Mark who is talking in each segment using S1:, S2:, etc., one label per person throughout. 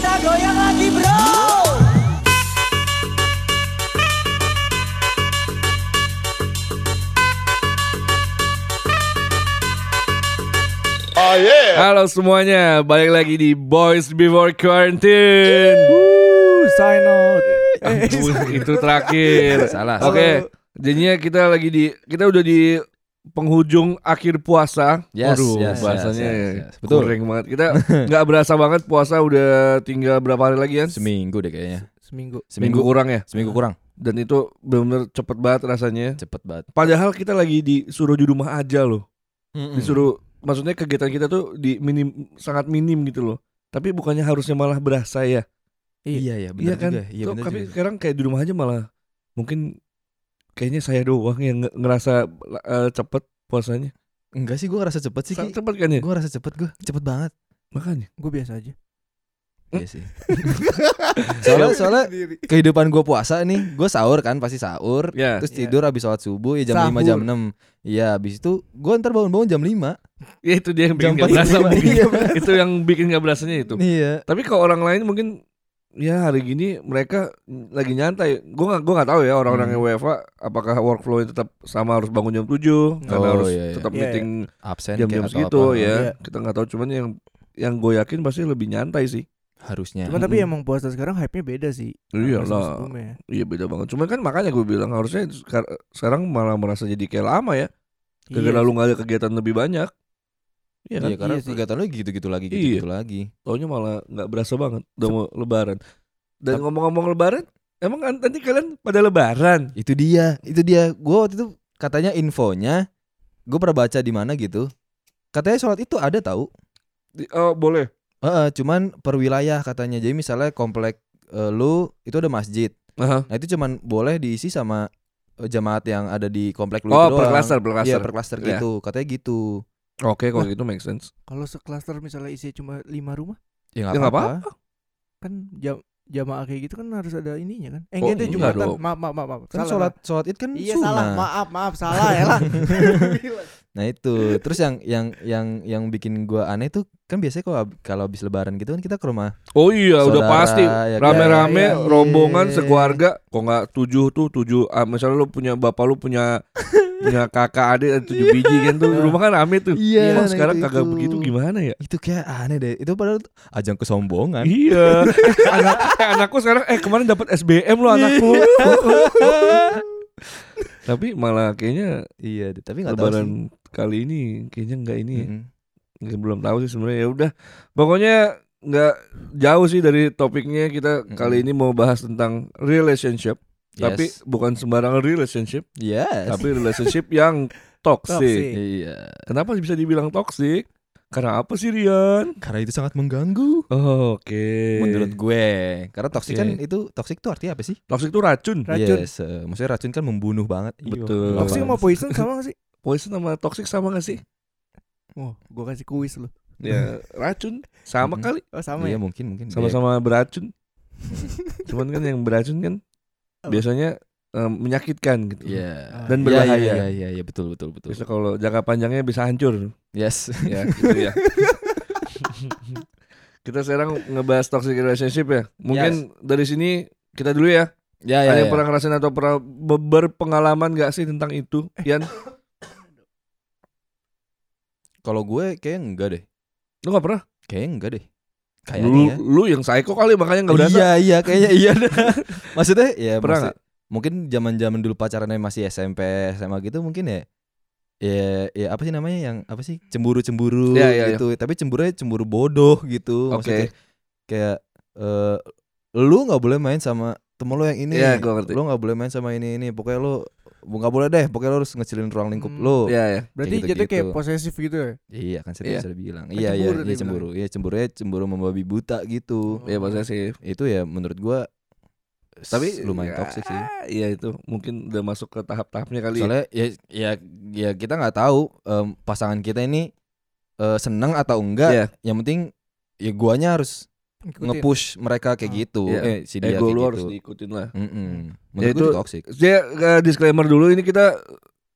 S1: goyang lagi bro
S2: Oh yeah.
S3: Halo semuanya, balik lagi di Boys Before Quarantine. Wuh, sign out. itu terakhir.
S4: Eh, Salah,
S3: Oke, jadinya kita lagi di kita udah di penghujung akhir puasa.
S4: Yes,
S3: Waduh,
S4: yes,
S3: bahasanya
S4: yes, yes, yes.
S3: betul
S4: Betul.
S3: kering banget. Kita nggak berasa banget puasa udah tinggal berapa hari lagi ya?
S4: Seminggu deh kayaknya.
S1: Seminggu
S3: Seminggu kurang ya.
S4: Seminggu kurang.
S3: Dan itu benar-benar cepet banget rasanya.
S4: Cepet banget.
S3: Padahal kita lagi disuruh di rumah aja loh. Hmm. disuruh maksudnya kegiatan kita tuh di minim sangat minim gitu loh tapi bukannya harusnya malah berasa ya
S4: Iya iya
S3: iya
S4: benar
S3: kan
S4: juga. Iya
S3: Tuh,
S4: benar
S3: tapi
S4: juga.
S3: sekarang kayak di rumah aja malah mungkin kayaknya saya doang yang nge- ngerasa eh, cepet puasanya
S4: Enggak sih gue ngerasa cepet sih.
S3: Sangat cepet kan ya
S4: Gue ngerasa cepet gue. Cepet banget.
S3: makanya
S1: Gue biasa aja
S4: Iya sih. soalnya soalnya kehidupan gue puasa nih, gue sahur kan pasti sahur.
S3: ya
S4: Terus
S1: Iya.
S4: tidur abis sholat subuh ya jam
S1: Sahur.
S4: 5 jam 6 Iya abis itu gue ntar bangun-bangun jam 5
S3: ya itu dia yang bikin
S4: Jam
S3: nggak
S4: empat
S3: berasa
S4: lima.
S3: mungkin.
S4: Iya,
S3: itu yang bikin nggak berasanya itu
S4: Iya
S3: tapi kalau orang lain mungkin ya hari gini mereka lagi nyantai gue nggak gue nggak tahu ya orang-orang
S4: Hmm.
S3: yang WFA apakah workflow tetap sama harus bangun jam 7 karena
S4: Oh,
S3: harus
S4: iya, iya.
S3: tetap
S1: Iya, iya.
S3: meeting
S4: Absen
S3: jam-jam
S4: kan, kayak atau
S3: segitu
S4: apa.
S3: ya
S1: Iya.
S3: kita nggak tahu cuman yang yang gue yakin pasti lebih nyantai sih
S4: Harusnya
S1: Cuman tapi
S3: Mm-mm.
S1: emang puasa sekarang hype-nya beda Iya sih
S3: Iyalah.
S1: Sama sebelumnya. ya.
S3: iya beda banget cuman kan makanya gue bilang harusnya sekar- sekarang malah merasa jadi kayak lama ya
S1: Iya.
S3: gara-gara lu nggak ada kegiatan lebih banyak Iya kan
S4: Iya karena
S1: Iya sih.
S4: kegiatan lu gitu-gitu lagi gitu-gitu lagi
S3: taunya malah nggak berasa banget udah mau lebaran dan ngomong-ngomong lebaran emang kan nanti kalian pada lebaran
S4: Itu dia, itu dia. Gua waktu itu katanya infonya gue pernah baca di mana gitu. Katanya sholat itu ada tahu.
S3: Di- oh, boleh
S4: Heeh, cuman per wilayah katanya. Jadi misalnya komplek eh, lu itu ada masjid.
S3: Aha.
S4: Nah, itu cuman boleh diisi sama eh, jamaat yang ada di komplek lu
S3: oh
S4: itu
S3: per
S4: doang.
S3: klaster per
S4: Iya,
S3: klaster
S4: per klaster
S3: Iya.
S4: gitu. Katanya gitu.
S3: oke kalau gitu make sense
S1: Kalau seklaster misalnya isinya cuma lima rumah
S4: Ya
S3: Ya,
S4: nggak
S3: nggak
S4: apa-apa.
S1: Kan jam jamaah kayak gitu kan harus ada ininya kan Eh
S3: Oh,
S1: enggak itu
S3: iya
S1: Jumatan
S3: dong.
S1: Maaf maaf maaf, maaf.
S4: Kan
S1: Salah,
S4: sholat sholat id kan
S1: maaf. Iya
S4: sunnah.
S1: salah maaf maaf salah ya lah
S4: Nah itu terus yang yang yang yang bikin gua aneh tuh kan biasanya kalau hab- kalau habis lebaran gitu kan kita ke rumah
S3: oh iya udah
S4: saudara,
S3: pasti
S4: ya kan?
S3: rame-rame
S1: Iya, iya.
S3: rombongan sekeluarga kok nggak tujuh tuh tujuh ah, misalnya lu punya bapak lu punya punya kakak adik ada tujuh biji kan tuh rumah kan rame tuh
S4: Iya,
S3: Wah,
S4: nah
S3: sekarang
S4: itu-
S3: kagak
S4: itu.
S3: begitu gimana ya
S4: itu kayak aneh deh itu padahal tuh ajang kesombongan
S3: iya Eh, anak, eh, anakku sekarang eh kemarin dapat SBM
S4: Iya.
S3: lo anakku tapi malah kayaknya
S4: iya deh, tapi nggak tahu sih
S3: lebaran kali ini kayaknya nggak ini ya.
S4: Mm-mm.
S3: Nggak- belum tahu sih sebenarnya ya udah pokoknya nggak jauh sih dari topiknya kita
S4: Mm-mm.
S3: kali ini mau bahas tentang relationship
S4: Yes.
S3: tapi bukan sembarangan relationship
S4: yes
S3: tapi relationship yang toxic.
S1: Toxic.
S4: iya
S3: Kenapa bisa dibilang toxic? Karena apa sih Rian?
S4: karena itu sangat mengganggu
S3: Oh, Oke.
S4: menurut gue karena toksik
S3: Oke.
S4: kan itu toksik tuh artinya apa sih
S3: toxic itu Iya. racun. Iya.
S1: Racun.
S4: yes eh, maksudnya racun kan membunuh banget
S3: Betul.
S1: Toxic
S4: toksik
S1: sama poison sama gak sih?
S3: Poison sama toxic sama gak sih?
S1: Wah gue Oh, kasih kuis loh
S3: Ya, racun sama
S4: Mm-mm.
S3: kali.
S1: Oh sama ya
S4: iya mungkin mungkin
S3: Sama-sama beracun. Cuman kan yang beracun kan
S1: Apa?
S3: biasanya eh, menyakitkan gitu.
S4: iya
S3: Dan
S4: Iya,
S3: berbahaya.
S4: iya iya iya, iya, betul betul betul
S3: Bisa kalau jangka panjangnya bisa hancur.
S4: yes
S3: ya, gitu ya. kita sekarang ngebahas toxic relationship ya. Mungkin dari sini kita dulu ya.
S4: ya ya,
S3: Ada yang
S4: ya.
S3: pernah ngerasain atau pernah be- berpengalaman gak sih tentang itu?
S4: Eh.
S3: Yan,
S4: kalau gue kayaknya enggak deh
S3: lu gak pernah?
S4: kayaknya enggak deh
S3: lu,
S4: kayaknya ya
S3: lu yang psycho kali makanya gak berasa.
S4: iya iya kayaknya iya dah. maksudnya ya
S3: Pernah
S4: maksud- mungkin zaman-zaman dulu pacarannya masih SMP SMA gitu mungkin ya ya ya apa sih namanya yang apa sih cemburu-cemburu
S3: Iya, iya, iya.
S4: gitu tapi cemburu cemburu bodoh gitu
S3: Oke.
S4: maksudnya kayak eh, lu nggak boleh main sama temen lu yang ini
S3: Iya, gua ngerti.
S4: lu nggak boleh main sama ini ini pokoknya lu bu- nggak boleh deh pokoknya lu harus ngecilin ruang lingkup
S1: Hmm.
S4: lu
S3: Iya, ya.
S1: Berarti
S4: Kayak
S1: jatuh kayak
S4: gitu-gitu.
S1: posesif gitu ya
S4: iya kan saya
S3: Iya.
S4: sudah bilang
S1: Kan
S4: iya iya
S1: cemburu dia
S4: iya
S1: bilang.
S4: cemburu iya cemburu cemburu membabi buta gitu
S3: Iya, maksudnya sih.
S4: itu ya menurut gua s-
S3: Tapi
S4: lumayan
S3: ya,
S4: toxic sih
S3: Iya itu mungkin udah masuk ke tahap-tahapnya kali. ya.
S4: soalnya ya ya, ya kita nggak tahu em, pasangan kita ini eh, seneng atau enggak
S3: Iya.
S4: yang penting ya guanya harus
S1: Ngikutin.
S4: nge-push mereka kayak
S1: Ah.
S4: gitu
S3: Iya.
S4: eh si dia
S3: ego
S4: kayak
S3: lu
S4: gitu
S3: harus diikutin lah.
S4: Mm-mm.
S3: Ya,
S4: menurut gua
S3: itu-
S4: itu toxic
S3: Saya eh, disclaimer dulu ini kita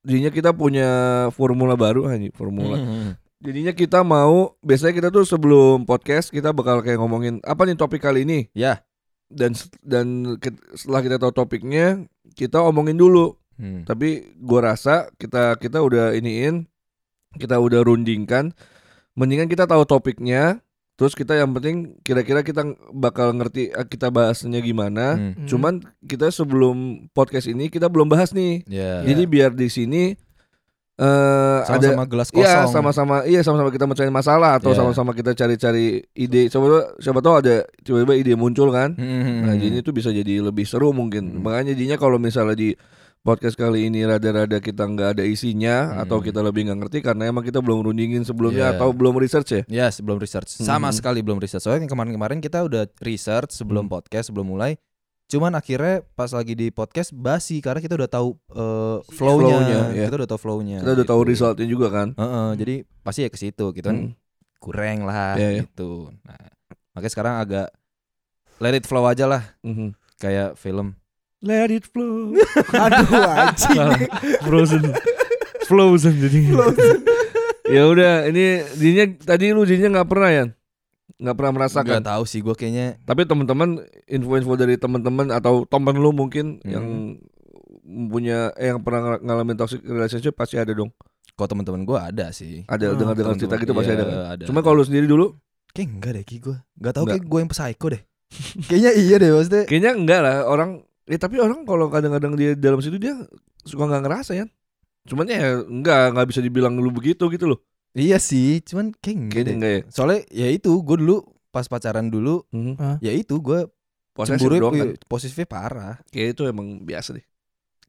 S3: jadinya kita punya formula baru hanya formula.
S4: Mm-mm.
S3: Jadinya kita mau biasanya kita tuh sebelum podcast kita bakal kayak ngomongin apa nih topik kali ini
S4: Ya.
S3: dan se- dan ke- setelah kita tahu topiknya kita omongin dulu.
S4: Hmm.
S3: Tapi gua rasa kita kita udah iniin kita udah rundingkan mendingan kita tahu topiknya terus kita yang penting kira-kira kita bakal ngerti eh, kita bahasnya gimana.
S4: Hmm.
S1: Hmm.
S3: Cuman kita sebelum podcast ini kita belum bahas nih.
S4: Ya.
S3: Jadi biar di sini eh ada
S4: Sama-sama gelas kosong.
S3: Iya sama-sama iya sama-sama kita mencari masalah atau
S4: Iya.
S3: sama-sama kita cari-cari ide siapa tahu siapa tahu ada tiba-tiba ide muncul kan
S4: Hmm.
S3: nah jadi itu bisa jadi lebih seru mungkin
S4: Hmm.
S3: makanya jadinya kalau misalnya di podcast kali ini rada-rada kita nggak ada isinya
S4: Hmm.
S3: atau kita lebih nggak ngerti karena emang kita belum rundingin sebelumnya
S4: Iya.
S3: atau belum research ya
S4: Ya, sebelum research. Sama
S3: Hmm.
S4: sekali belum research. Soalnya kemarin-kemarin kita udah research
S3: Mm.
S4: sebelum podcast, sebelum mulai. Cuman akhirnya pas lagi di podcast basi karena kita udah tahu eh, flow-nya.
S3: Flow-nya, ya.
S4: Kita udah tahu flow-nya.
S3: kita udah tahu
S4: gitu.
S3: resultnya juga kan
S4: Heeh, jadi pasti ya ke situ gitu
S3: Hmm.
S4: kan. Kurang lah
S3: Iya, iya.
S4: gitu. Nah, makanya sekarang agak let it flow aja lah
S3: Mhm.
S4: kayak film.
S3: let it flow
S1: Aduh anjing.
S3: frozen frozen jadi ya udah ini jadinya tadi lu jadinya nggak pernah ya nggak pernah merasakan
S4: Gak tahu sih gue kayaknya
S3: Tapi teman-teman info-info dari teman-teman atau teman lu mungkin
S4: Hmm.
S3: yang punya eh, yang pernah ng- ngalamin toxic relationship pasti ada dong.
S4: kok teman-teman gue ada sih.
S3: Ada
S1: Hmm,
S3: dengar-dengar
S4: Teman-teman-
S3: cerita gitu pasti
S4: Ah,
S3: ada.
S4: iya,
S3: Kan?
S4: ada.
S3: Cuma kalau lu sendiri dulu
S4: Kayak enggak deh Ki gue Gak tau
S3: Enggak.
S4: kayak gue yang psycho deh Kayaknya iya deh maksudnya
S3: kayaknya enggak lah orang ya tapi orang kalau kadang-kadang dia dalam situ dia suka nggak ngerasa ya. Cuman ya enggak nggak bisa dibilang lu begitu gitu loh.
S4: Iya sih Cuman kayak enggak
S3: Kayaknya
S4: deh
S3: enggak ya.
S4: Soalnya ya itu Gue dulu pas pacaran dulu
S3: Hmm.
S4: Ya itu gue
S3: Posesif
S4: cemburu iya, ya.
S3: doang kan.
S4: posisinya parah
S3: Kayak itu emang biasa deh.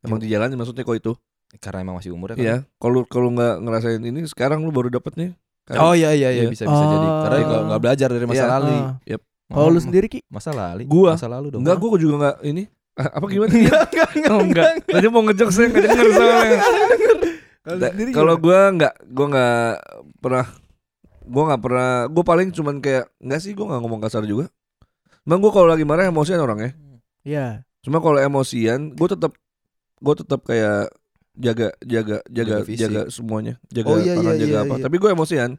S3: Emang di jalan maksudnya kok itu.
S4: Karena emang masih umurnya kan
S3: Iya, kalau kalau nggak ngerasain ini sekarang lu baru dapet nih.
S4: Oh iya iya iya
S3: Iya.
S4: bisa bisa jadi karena
S1: Ah.
S4: nggak nggak belajar dari masa
S3: Iya.
S4: lalu.
S1: Ah.
S3: Yep.
S1: Kalau lu
S4: Mama-
S1: sendiri Ki?
S4: masa lalu.
S3: Gua.
S4: masa lalu dong.
S3: Enggak, gua juga nggak ini. Ah, Apa gimana?
S4: Enggak enggak
S3: Oh enggak. Tadi mau ngejok saya enggak denger soalnya. Da-
S1: sendiri
S3: Kalau gua enggak gua enggak pernah gua enggak pernah gua paling cuman kayak enggak sih gua enggak ngomong kasar juga. Emang gua kalau lagi marah emosian orangnya.
S1: ya.
S3: Cuma kalau emosian gua tetap gua tetap kayak jaga jaga jaga
S4: Jaga fisik.
S3: jaga semuanya, jaga
S4: Oh, iya,
S3: tangan,
S4: iya,
S3: jaga
S4: iya,
S3: apa.
S4: iya.
S3: Tapi gua emosian.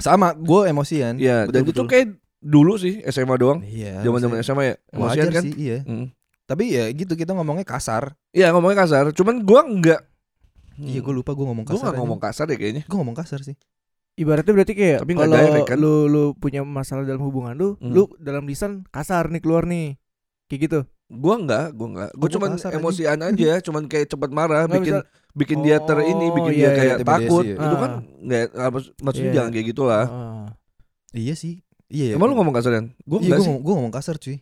S4: Sama gue emosian.
S3: Iya,
S4: Betul,
S3: dan itu
S4: betul.
S3: kayak dulu sih SMA doang.
S4: Iya.
S3: Zaman-zaman
S4: maksudnya
S3: SMA ya, emosian
S4: wajar
S3: kan.
S4: sih iya.
S3: Mm.
S4: Tapi ya gitu kita ngomongnya kasar.
S3: Iya, ngomongnya kasar. Cuman gua enggak
S4: Iya gue lupa gue ngomong
S3: Hmm. gua
S4: kasar.
S3: enggak ngomong kasar deh kayaknya.
S4: Gue ngomong kasar sih.
S1: Ibaratnya berarti kayak
S3: Tapi nggak
S1: kalau
S3: direct, kan?
S1: lu lu punya masalah dalam hubungan lu,
S3: Hmm.
S1: lu dalam lisan kasar nih keluar nih. Kayak gitu.
S3: Gua enggak, gua enggak. Gua
S4: Oh, gua
S3: cuman
S4: kasar aja.
S3: emosian aja, cuman kayak cepet marah,
S1: Nggak,
S3: bikin
S1: misal-
S3: bikin dia ter
S1: Oh,
S3: ini, bikin
S1: iya,
S3: dia
S1: iya,
S3: kayak
S4: intimidasi,
S3: takut.
S4: iya.
S3: Itu kan
S1: Ah.
S3: enggak apa maksudnya
S1: Iya.
S3: jangan kayak gitulah.
S1: Ah.
S4: Iya sih. Iya.
S3: Emang lu ngomong kasarian? Gua
S4: Iya
S3: enggak
S4: gue
S3: sih.
S4: ngomong, gua ngomong kasar cuy.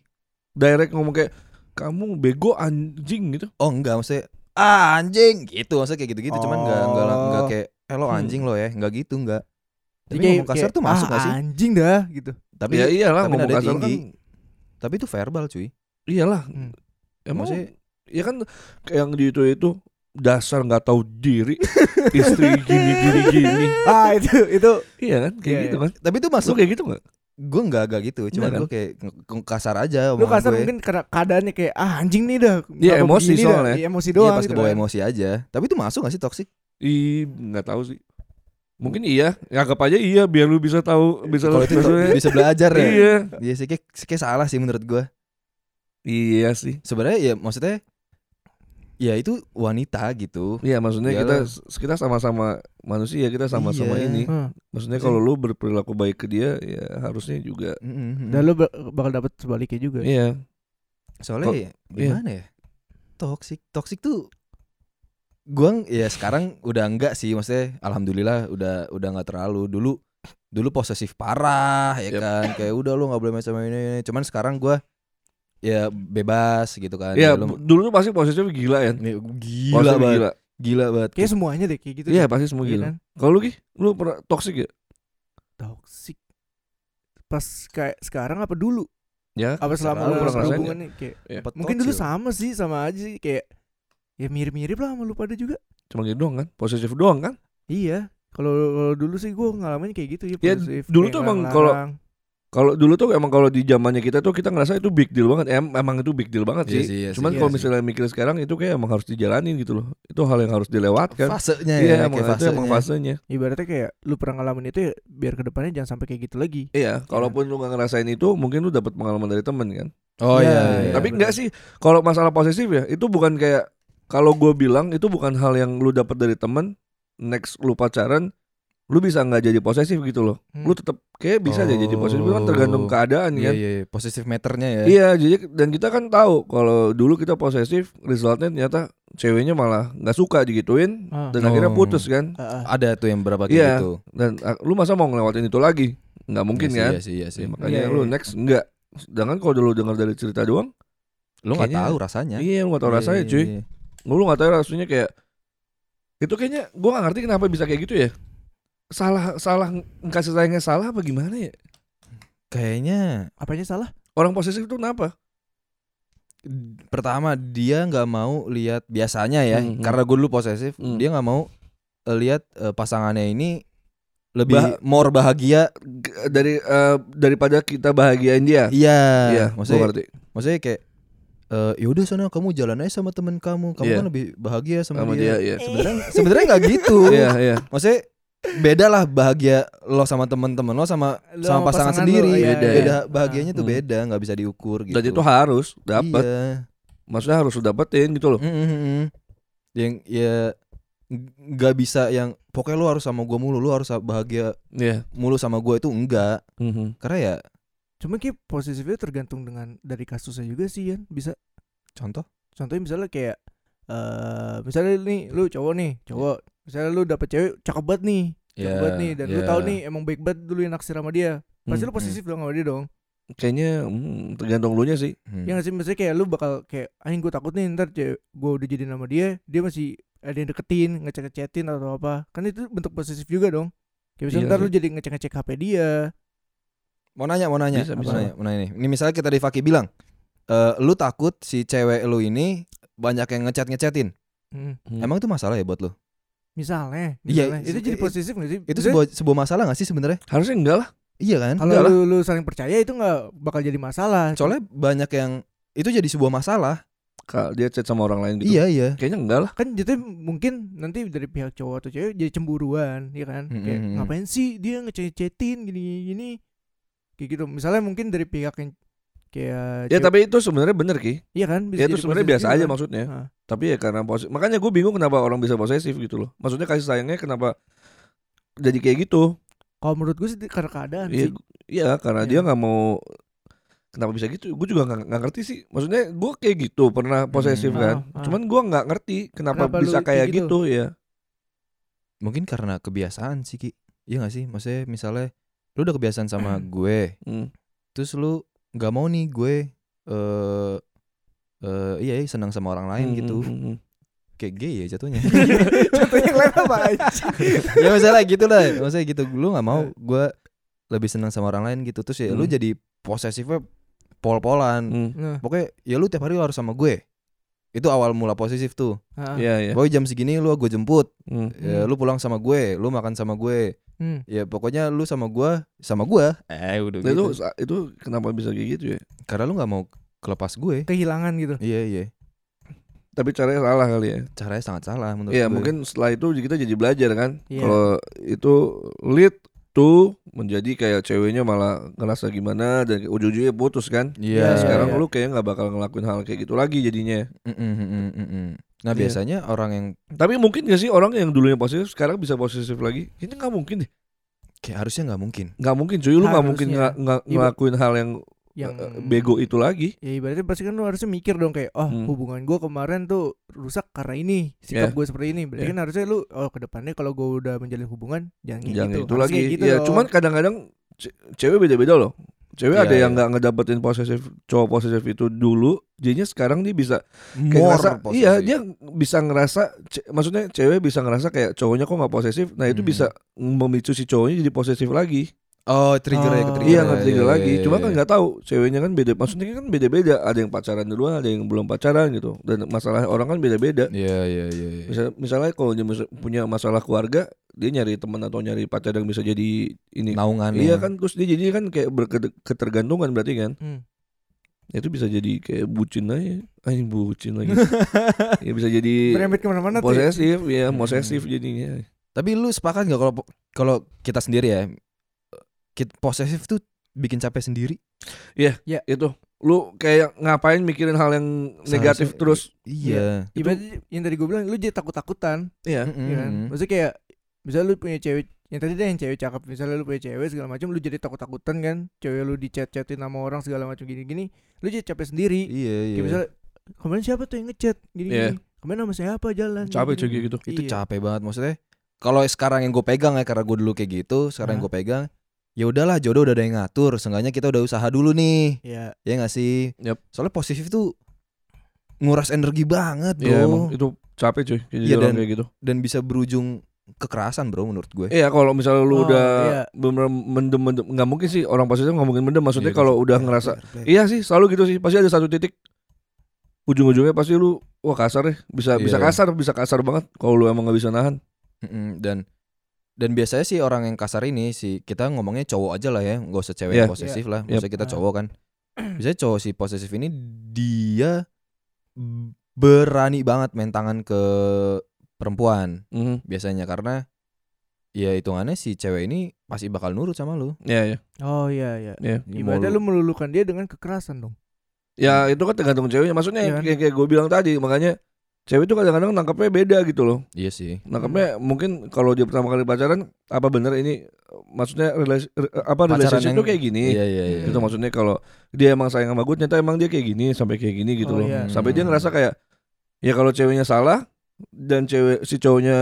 S3: Direct ngomong kayak kamu bego anjing gitu.
S4: Oh enggak maksudnya ah anjing gitu maksudnya kayak gitu-gitu cuman enggak enggak
S1: Oh.
S4: enggak kayak eh lo
S3: Hmm.
S4: anjing lo ya enggak gitu enggak. Tapi
S1: Jadi
S4: ngomong kasar
S1: kayak,
S4: tuh masuk
S1: ah,
S4: gak sih?
S1: Anjing dah gitu.
S4: Tapi
S3: Ya iyalah
S4: Iya, tapi
S3: ngomong
S4: nada
S3: kasar kan.
S4: tinggi. tapi itu verbal cuy.
S3: Iyalah.
S1: Hmm.
S3: Emang
S4: Maksudnya-
S3: ya kan kayak yang di itu itu dasar nggak tahu diri istri gini gini gini
S1: ah itu itu
S3: iya kan kayak
S1: Iya,
S3: gitu
S1: iya.
S3: kan
S4: Tapi itu
S3: masuk
S4: masuk
S3: kayak gitu nggak
S4: gue enggak enggak gitu,
S3: Enggak
S4: cuman
S3: kan?
S4: gue kayak nge- nge- kasar aja
S1: lu
S4: omongan
S1: kasar
S4: gue.
S1: mungkin karena keadaannya kayak ah anjing nih dah.
S3: Iya,
S1: Kenapa
S3: emosi
S1: begini dah?
S3: soalnya.
S1: Iya, emosi
S4: Iya
S1: doang
S4: pas
S1: gitu
S4: kebawa
S1: kan.
S4: emosi aja. Tapi itu masuk gak sih toksik?
S3: Ih, nggak tahu sih. Mungkin iya, ya, anggap aja iya biar lu bisa tahu bisa
S4: Kalau itu to-
S3: maksudnya-
S4: bisa belajar ya.
S3: Iya.
S4: Iya sih kayak, kayak salah sih menurut gue.
S3: Iya sih.
S4: Sebenarnya ya maksudnya ya itu wanita gitu.
S3: Iya, maksudnya
S4: Iyalah.
S3: kita kita sama-sama manusia, kita sama-sama
S4: Iya.
S3: ini.
S1: Hmm.
S3: Maksudnya kalau lu berperilaku baik ke dia, ya harusnya juga
S4: Mm-mm.
S1: Dan lu bak- bakal dapet sebaliknya juga.
S3: Iya. Kok-
S4: Soalnya
S3: iya?
S4: ya, gimana ya? Toxic, toxic tuh gua ng- ya sekarang udah enggak sih maksudnya alhamdulillah udah udah nggak terlalu dulu dulu posesif parah ya
S3: Yep.
S4: kan kayak udah lu nggak boleh macam ini, ini cuman sekarang gua ya bebas gitu kan
S3: Iya,
S4: Ya lu-
S3: dulu tuh pasti posisinya gila ya.
S4: ya,
S3: Posisinya
S4: gila banget
S3: gila.
S4: gila banget
S1: Kayak semuanya deh kayak gitu.
S3: Iya,
S1: deh.
S3: pasti semua
S1: Iya
S3: gila.
S1: kan?
S3: Kalau lu Ki, lu pernah toksik ya?
S1: Toxic. Pas kayak sekarang apa dulu?
S3: Ya.
S1: Apa selama lu
S4: Sekarang lu pernah ngerasain
S1: hubungannya kayak
S4: Dapet
S1: mungkin
S4: toxic.
S1: dulu sama sih sama aja sih kayak ya mirip-mirip lah sama lu pada juga.
S3: Cuma gitu doang kan? Posesif doang kan?
S1: Iya. Kalau kalau dulu sih gue ngalamin kayak gitu ya.
S3: Ya,
S1: posesif,
S3: dulu
S1: kayak
S3: tuh emang
S1: ngelarang-larang.
S3: Kalau dulu tuh emang kalau di zamannya kita tuh kita ngerasa itu big deal banget. Em- emang itu big deal banget
S4: Iya
S3: sih.
S4: sih, iya sih,
S3: Cuman
S1: iya
S3: kalau
S1: sih.
S3: misalnya mikir sekarang itu kayak emang harus dijalanin gitu loh. Itu hal yang harus dilewatkan.
S4: fasenya ya,
S3: Iya,
S4: kayak
S3: emang itu emang fasenya.
S4: fasenya.
S1: Ibaratnya kayak lu pernah ngalamin itu ya biar kedepannya jangan sampai kayak gitu lagi.
S3: Iya, kalaupun lu gak ngerasain itu, mungkin lu dapat pengalaman dari temen kan.
S4: Oh
S1: Iya,
S4: iya.
S1: iya.
S4: iya.
S3: Tapi
S1: benar.
S3: enggak sih, kalau masalah posesif ya, itu bukan kayak kalau gue bilang itu bukan hal yang lu dapat dari temen. Next lu pacaran, lu bisa nggak jadi posesif gitu loh.
S1: Hmm.
S3: Lu tetap kayak bisa aja jadi posesif itu kan tergantung
S4: Oh.
S3: keadaan
S4: Iya,
S3: kan.
S4: iya, iya. Positif meternya ya.
S3: Iya, jadi dan kita kan tahu kalau dulu kita posesif, resultnya ternyata ceweknya malah nggak suka digituin
S1: Ah.
S3: dan akhirnya
S4: Oh.
S3: putus kan.
S1: Ah, ah.
S4: Ada tuh yang berapa
S3: Iya,
S4: gitu.
S3: Dan ah, lu masa mau ngelewatin itu lagi? Nggak mungkin
S4: Iya sih,
S3: kan?
S4: Iya sih, iya sih.
S3: Makanya
S1: Iya, iya,
S3: lu
S1: iya.
S3: next enggak. Sedangkan kalau dulu dengar dari cerita doang,
S4: Lu nggak
S3: Kayaknya-
S4: tahu rasanya.
S3: iya lu nggak tahu
S4: Iya,
S3: rasanya
S4: iya,
S3: cuy.
S4: iya.
S3: lu nggak tahu rasanya kayak itu kayaknya gua nggak ngerti kenapa bisa kayak gitu ya salah salah kasih sayangnya salah apa gimana ya
S4: Kayaknya
S1: Apanya salah?
S3: orang posesif itu kenapa
S4: d- pertama dia nggak mau lihat biasanya ya,
S3: Mm, mm.
S4: karena gue dulu posesif,
S3: Mm.
S4: dia nggak mau eh, lihat eh, pasangannya ini lebih
S3: Bah-
S4: more bahagia.
S3: G- dari eh, daripada kita bahagiain dia
S4: Iya.
S3: iya gua
S4: maksudnya
S3: ngerti
S4: maksudnya kayak eh yaudah sana kamu jalan aja sama temen kamu kamu
S3: Iya.
S4: kan lebih bahagia sama,
S3: sama dia
S4: dia,
S3: iya
S4: sebenarnya sebenarnya nggak gitu
S3: iya iya
S4: maksudnya beda lah bahagia lo sama temen-temen lo sama
S1: Lu sama
S4: sama pasangan,
S1: pasangan
S4: sendiri
S1: lo, iya,
S4: beda, ya.
S3: iya.
S4: bahagianya tuh
S3: Hmm.
S4: beda nggak bisa diukur gitu
S3: dan itu harus dapat
S4: iya.
S3: maksudnya harus lu dapetin gitu loh
S4: Mm, mm, mm, mm. yang ya ng- nggak bisa yang pokoknya lo harus sama gue mulu lo harus bahagia
S3: iya
S4: mulu sama gue itu enggak
S3: Mhm.
S4: karena ya
S1: Cuma kayak posesifnya tergantung dengan dari kasusnya juga sih Yan. Bisa
S4: contoh
S1: contohnya misalnya kayak eh misalnya nih lu cowok nih, cowok. Misalnya lu dapet cewek cakep banget nih, cakep banget nih dan lu
S4: ya.
S1: tahu nih emang baik banget dulu yang naksir sama dia. Pasti
S3: Hmm,
S1: lu posesif dong sama dia dong.
S3: kayaknya hmm, tergantung lu nya sih
S4: Hmm.
S1: Ya nggak sih misalnya kayak lu bakal kayak anjing gue takut nih ntar cewek gue udah jadi nama dia, dia masih ada yang deketin, ngecek-ngecekin atau apa. Kan itu bentuk posesif juga dong. Kayak misalnya
S3: Iya
S1: ntar
S3: sih.
S1: lu jadi ngecek-ngecek HP dia.
S4: mau nanya mau nanya
S3: Bisa,
S4: mau
S3: bisa.
S4: nanya mau nanya nih ini misalnya kita di Faki bilang eh lu takut si cewek lu ini banyak yang ngechat ngechatin
S1: Hmm.
S3: Hmm.
S4: emang itu masalah ya buat lu
S1: Misalnya,
S4: Iya,
S1: misalnya. itu
S4: i-
S1: jadi
S4: i-
S1: posesif gak sih?
S4: itu
S1: Maksudnya,
S4: sebuah sebuah masalah gak sih sebenarnya
S3: harusnya enggak lah
S4: iya kan
S1: Iya. kalau
S3: Enggak
S1: lu, lu saling percaya itu nggak bakal jadi masalah.
S4: soalnya banyak yang itu jadi sebuah masalah
S3: kalau dia chat sama orang lain gitu
S4: iya iya
S3: kayaknya enggak lah
S1: kan jadi mungkin nanti dari pihak cowok atau cewek jadi cemburuan ya kan
S3: Hmm,
S1: kayak
S4: Mm-mm.
S1: ngapain sih dia ngecet-cetin gini gini kayak gitu misalnya mungkin dari pihak yang kayak
S3: ya
S1: cewek-
S3: tapi itu sebenarnya bener ki
S1: iya kan
S3: ya itu
S1: jadi
S3: sebenarnya
S1: posesif
S3: biasa
S1: juga
S3: aja
S1: kan.
S3: maksudnya
S1: Hah.
S3: tapi ya karena posesif makanya gue bingung kenapa orang bisa posesif gitu loh maksudnya kasih sayangnya kenapa jadi kayak gitu
S1: kalau menurut gue sih karena keadaan
S3: iya
S1: sih
S3: gu- iya, karena
S1: Iya.
S3: dia nggak mau kenapa bisa gitu gue juga nggak nggak ngerti sih maksudnya gue kayak gitu pernah posesif
S1: Hmm.
S3: kan
S1: Ah, ah.
S3: cuman gue nggak ngerti kenapa,
S1: Kenapa lu
S3: bisa kayak
S1: kayak
S3: gitu, ya
S4: mungkin karena kebiasaan sih ki iya gak sih maksudnya misalnya lu udah kebiasaan sama gue
S3: Hmm.
S4: terus lu nggak mau nih gue eh eh iya, iya senang sama orang lain
S3: Hmm,
S4: gitu
S3: hmm, hmm.
S4: kayak gay ya jatuhnya
S1: contoh yang lain apa Nah, aja
S4: ya misalnya gitu lah maksudnya gitu lu nggak mau gue lebih senang sama orang lain gitu terus ya
S3: Eh.
S4: lu
S3: Hmm.
S4: jadi posesifnya pol-polan
S3: Hmm.
S1: nah,
S4: pokoknya ya lu tiap hari lu harus sama gue itu awal mula posesif tuh
S1: ah,
S3: Iya, iya.
S4: pokoknya jam segini lu gue jemput
S3: Hmm.
S4: ya,
S1: Hmm.
S4: lu pulang sama gue lu makan sama gue
S1: hmm.
S4: ya pokoknya lu sama gue sama gue eh udah
S3: Nah, itu
S4: gitu
S3: itu kenapa bisa kayak gitu ya
S4: karena lu nggak mau kelepas gue
S1: kehilangan gitu
S4: iya iya
S3: tapi caranya salah kali ya
S4: caranya sangat salah menurut
S3: Iya
S4: gue.
S3: mungkin setelah itu kita jadi belajar kan
S1: Iya.
S3: kalau itu lead to menjadi kayak ceweknya malah ngerasa gimana dan ujung-ujungnya putus kan
S4: iya
S1: Ya,
S3: sekarang
S1: iya.
S3: lu kayak nggak bakal ngelakuin hal kayak gitu lagi jadinya
S4: Mm, mm, mm, mm, mm, mm. nah
S3: Iya.
S4: biasanya orang yang
S3: tapi mungkin gak sih orang yang dulunya positif sekarang bisa positif lagi ini nggak mungkin deh
S4: kayak harusnya nggak mungkin
S3: nggak mungkin cuy lu nggak mungkin
S1: Harusnya.
S3: nga- nga-
S1: Iya,
S3: ngelakuin hal yang,
S1: yang
S3: eh, bego itu lagi
S1: ya ibaratnya pasti kan lu harusnya mikir dong kayak oh
S3: Hmm. Iya.
S1: hubungan gua kemarin tuh rusak karena ini sikap
S3: Yeah.
S1: gua seperti ini berarti kan harusnya lu oh kedepannya kalau gua udah menjalin hubungan jangan kayak
S3: jangan itu
S1: gitu Harusnya
S3: lagi
S1: kayak gitu
S3: ya
S1: dong.
S3: cuman kadang-kadang ce- cewek beda-beda loh cewek
S4: Iya,
S3: ada yang
S4: iya.
S3: nggak ngedapetin posesif cowok posesif itu dulu jadinya sekarang dia bisa kayak
S4: More
S3: ngerasa,
S4: posesif.
S3: iya dia bisa ngerasa ce- maksudnya cewek bisa ngerasa kayak cowoknya kok nggak posesif nah itu
S4: Hmm.
S3: bisa memicu si cowoknya jadi posesif lagi
S4: Oh, trigger
S1: Oh.
S4: ya, ke trigger.
S3: Iya
S1: Iya,
S3: nggak
S4: ya,
S3: trigger
S4: iya,
S3: lagi.
S4: iya,
S3: Cuma
S4: iya.
S3: kan nggak tahu ceweknya kan beda. Maksudnya kan beda-beda. Ada yang pacaran duluan, ada yang belum pacaran gitu. Dan masalah orang kan beda-beda.
S4: Iya, iya, iya. iya.
S3: Misal, misalnya kalau dia mis- punya masalah keluarga, dia nyari teman atau nyari pacar yang bisa jadi ini.
S4: Naungan.
S3: iya
S4: ya.
S3: kan, terus dia jadi kan kayak berketergantungan berarti kan.
S1: Hmm.
S3: Itu bisa jadi kayak bucin aja. Anjing bucin lagi. ya bisa jadi
S1: Berembet kemana-mana tuh. ya.
S3: posesif, ya posesif jadinya.
S4: Tapi lu sepakat nggak kalau kalau kita sendiri ya, kita posesif tuh bikin capek sendiri.
S3: Itu lu kayak ngapain mikirin hal yang negatif
S4: Seharusnya-
S3: terus
S4: Iya.
S1: Ibaratnya yang tadi gue bilang lu jadi takut-takutan,
S3: Iya.
S4: Mm-mm.
S1: ya kan? Maksudnya kayak misalnya lu punya cewek yang tadi deh yang cewek cakep, misalnya lu punya cewek segala macam lu jadi takut-takutan kan, cewek lu dicet-cetin sama orang segala macam gini-gini, lu jadi capek sendiri.
S4: Iya, iya.
S1: Kayak misalnya kemarin siapa tuh yang ngechat gini-gini. Kemarin sama siapa jalan?
S3: Capek cuy
S1: gini-gini.
S3: kayak gitu.
S4: itu
S1: Iya.
S4: capek banget maksudnya. Kalau sekarang yang gue pegang ya karena gue dulu kayak gitu, sekarang yang gue pegang ya udahlah jodoh udah ada yang ngatur, seenggaknya kita udah usaha dulu nih.
S1: Iya.
S4: Ya nggak sih?
S3: Yap.
S4: Soalnya positif tuh nguras energi banget, Bro.
S3: Iya emang itu capek cuy jadi
S4: Iya,
S3: orang
S4: dan-
S3: kayak gitu.
S4: Dan bisa berujung kekerasan, Bro menurut gue.
S3: Iya kalau misalnya lu
S1: Oh,
S3: udah
S1: iya.
S3: bener mendem mendem nggak mungkin sih orang pasti nggak mungkin mendem maksudnya
S4: Iya,
S3: kalau udah
S4: Bener,
S3: ngerasa
S4: bener, bener.
S3: iya sih selalu gitu sih pasti ada satu titik ujung-ujungnya pasti lu wah kasar ya bisa
S4: Iya.
S3: bisa kasar bisa kasar banget kalau lu emang nggak bisa nahan.
S4: Mm-mm, dan dan biasanya sih orang yang kasar ini si kita ngomongnya cowok aja lah ya, nggak usah cewek
S3: Iya.
S4: yang posesif lah. Maksudnya kita
S1: Ah.
S4: cowok kan. Biasanya cowok si posesif ini dia berani banget main tangan ke perempuan
S3: Mhm.
S4: biasanya karena ya hitungannya si cewek ini pasti bakal nurut sama lu.
S3: Iya iya.
S1: Oh iya iya.
S3: Iya. Mau
S1: Ibaratnya lu melulukan dia dengan kekerasan dong.
S3: Ya
S4: Hmm.
S3: itu kan tergantung ceweknya maksudnya
S1: Iya
S3: yang
S1: kan?
S3: kayak, gue bilang tadi makanya cewek itu kadang-kadang nangkapnya beda gitu loh.
S4: Iya sih.
S3: Nangkapnya mungkin kalau dia pertama kali pacaran apa bener ini maksudnya relasi, re- apa
S4: Pacaran
S3: relationship
S4: yang-
S3: itu kayak gini.
S4: Iya iya iya.
S3: gitu maksudnya kalau dia emang sayang sama gue ternyata emang dia kayak gini sampai kayak gini gitu
S1: Oh,
S3: loh
S1: iya.
S3: sampai
S4: Hmm.
S3: dia ngerasa kayak ya kalau ceweknya salah dan cewek si cowoknya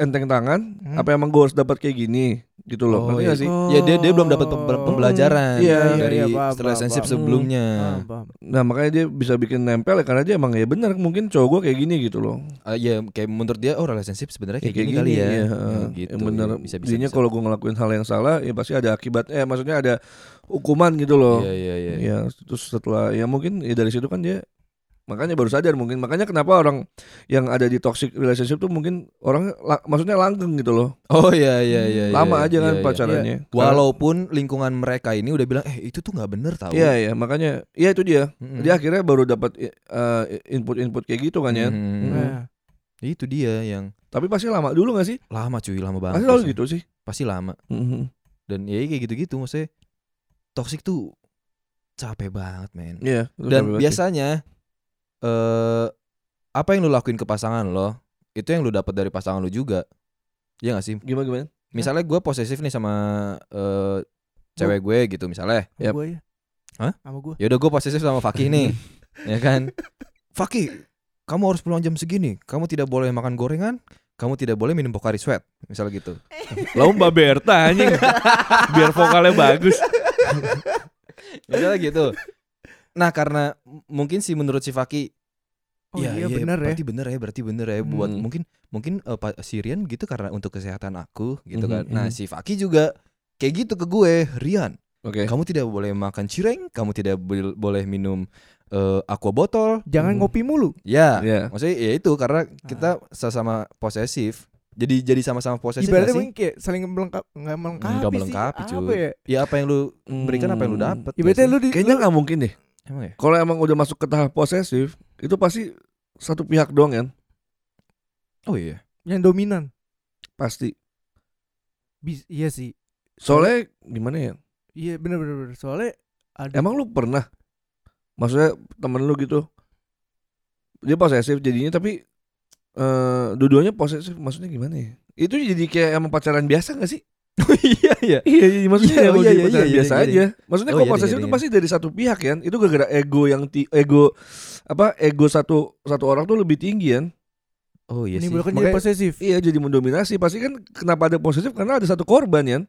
S3: enteng tangan
S1: Hmm.
S3: apa emang gue harus dapat kayak gini gitu loh
S4: Oh,
S3: ngerti nggak sih
S4: Ya dia dia belum dapat
S1: Oh.
S4: pem- pem- pembelajaran
S3: Iya, iya,
S4: dari
S1: iya, paham, paham,
S4: relationship
S1: paham.
S4: sebelumnya.
S1: Paham, paham.
S3: nah makanya dia bisa bikin nempel ya karena dia emang ya benar mungkin cowok gue kayak gini gitu loh
S4: Ah, ya kayak menurut dia oh relationship sebenarnya
S3: ya,
S4: kayak, gini, kali ya.
S3: iya,
S4: Ya,
S3: heeh.
S4: gitu.
S3: yang benar
S4: Bisa bisa.
S3: jadinya
S4: bisa.
S3: kalau gue ngelakuin hal yang salah ya pasti ada akibat eh maksudnya ada hukuman gitu loh
S4: Iya iya iya.
S3: Ya, terus setelah ya mungkin ya dari situ kan dia makanya baru sadar mungkin makanya kenapa orang yang ada di toxic relationship tuh mungkin orang la- maksudnya langgeng gitu loh.
S4: Oh iya iya iya. iya,
S3: Lama aja
S4: iya,
S3: kan
S4: iya.
S3: pacarannya.
S4: Walaupun lingkungan mereka ini udah bilang eh itu tuh nggak bener tau.
S3: Karena- Iya iya makanya iya itu dia.
S4: Mm-mm.
S3: Dia akhirnya baru dapat eh, input-input kayak gitu kan ya.
S4: Mm-mm.
S3: Mm-mm.
S1: Nah,
S4: Itu dia yang
S3: Tapi pasti lama dulu gak sih?
S4: lama cuy lama banget.
S3: Pasti selalu
S4: pasti.
S3: gitu sih.
S4: Pasti lama.
S3: Mhm.
S4: Dan ya kayak gitu-gitu maksudnya toxic tuh capek banget men.
S3: Iya. itu capek
S4: Dan
S3: banget sih.
S4: biasanya eh apa yang lu lakuin ke pasangan lo itu yang lu dapat dari pasangan lu juga. Iya gak sih?
S3: gimana gimana?
S4: Misalnya gue posesif nih sama eh, cewek gue gitu misalnya.
S1: sama
S3: Yap.
S1: gua ya.
S4: Hah?
S1: Sama gua.
S4: Ya udah gue posesif sama Fakih nih. ya kan? Fakih, kamu harus pulang jam segini. Kamu tidak boleh makan gorengan, kamu tidak boleh minum Pocari Sweat, misal gitu.
S3: Lalu Mbak Berta anjing. Biar vokalnya bagus.
S4: Misalnya gitu. Nah, karena m- mungkin sih menurut si Fakih
S1: Oh iya, benar ya.
S4: Berarti bener ya, berarti bener ya buat
S3: Hmm.
S4: mungkin mungkin eh, pa- si Rian gitu karena untuk kesehatan aku gitu
S3: Mhm,
S4: kan. Nah,
S3: mhm.
S4: si Fakih juga kayak gitu ke gue, Rian.
S3: Oke.
S4: Kamu tidak boleh makan cireng, kamu tidak bel- boleh minum eh, aqua botol.
S1: Jangan
S3: Hmm.
S1: ngopi mulu.
S4: Ya.
S3: Iya.
S4: Maksudnya ya itu karena
S1: Ah.
S4: kita sama-sama posesif. Jadi jadi sama-sama posesif gak
S1: Ibaratnya
S4: sih?
S1: mungkin kayak saling melengkap enggak melengkapi
S4: Nggak
S1: sih.
S4: melengkapi,
S1: Apa
S4: cuy.
S1: ya?
S4: Ya apa yang lu berikan apa yang lu
S3: Hmm.
S4: dapat.
S1: Ibaratnya lu di
S3: Kayaknya nggak mungkin deh.
S4: emang ya?
S3: Kalau emang udah masuk ke tahap posesif, itu pasti satu pihak doang kan?
S4: Oh iya.
S1: yang dominan.
S3: Pasti.
S1: Bis- iya sih.
S3: Soalnya gimana ya?
S1: Iya benar benar benar. Soalnya ada
S3: Emang Iya lu pernah maksudnya temen lu gitu dia posesif jadinya tapi eh dua-duanya posesif maksudnya gimana ya? Itu jadi kayak emang pacaran biasa gak sih?
S4: Oh iya iya.
S3: Iya, iya maksudnya
S4: Iya,
S3: emang
S4: iya,
S3: jadi
S4: iya,
S3: pacaran
S4: iya,
S3: biasa
S4: iya,
S3: aja. Maksudnya
S4: Oh,
S3: kalau
S4: iya,
S3: posesif
S4: iya,
S3: itu
S4: iya.
S3: pasti dari satu pihak kan. Itu gara-gara ego yang ti- ego apa ego satu satu orang tuh lebih tinggi kan.
S4: Oh iya sih.
S1: menimbulkan jadi
S3: Makanya-
S1: posesif.
S3: Iya jadi mendominasi. Pasti kan kenapa ada posesif karena ada satu korban kan.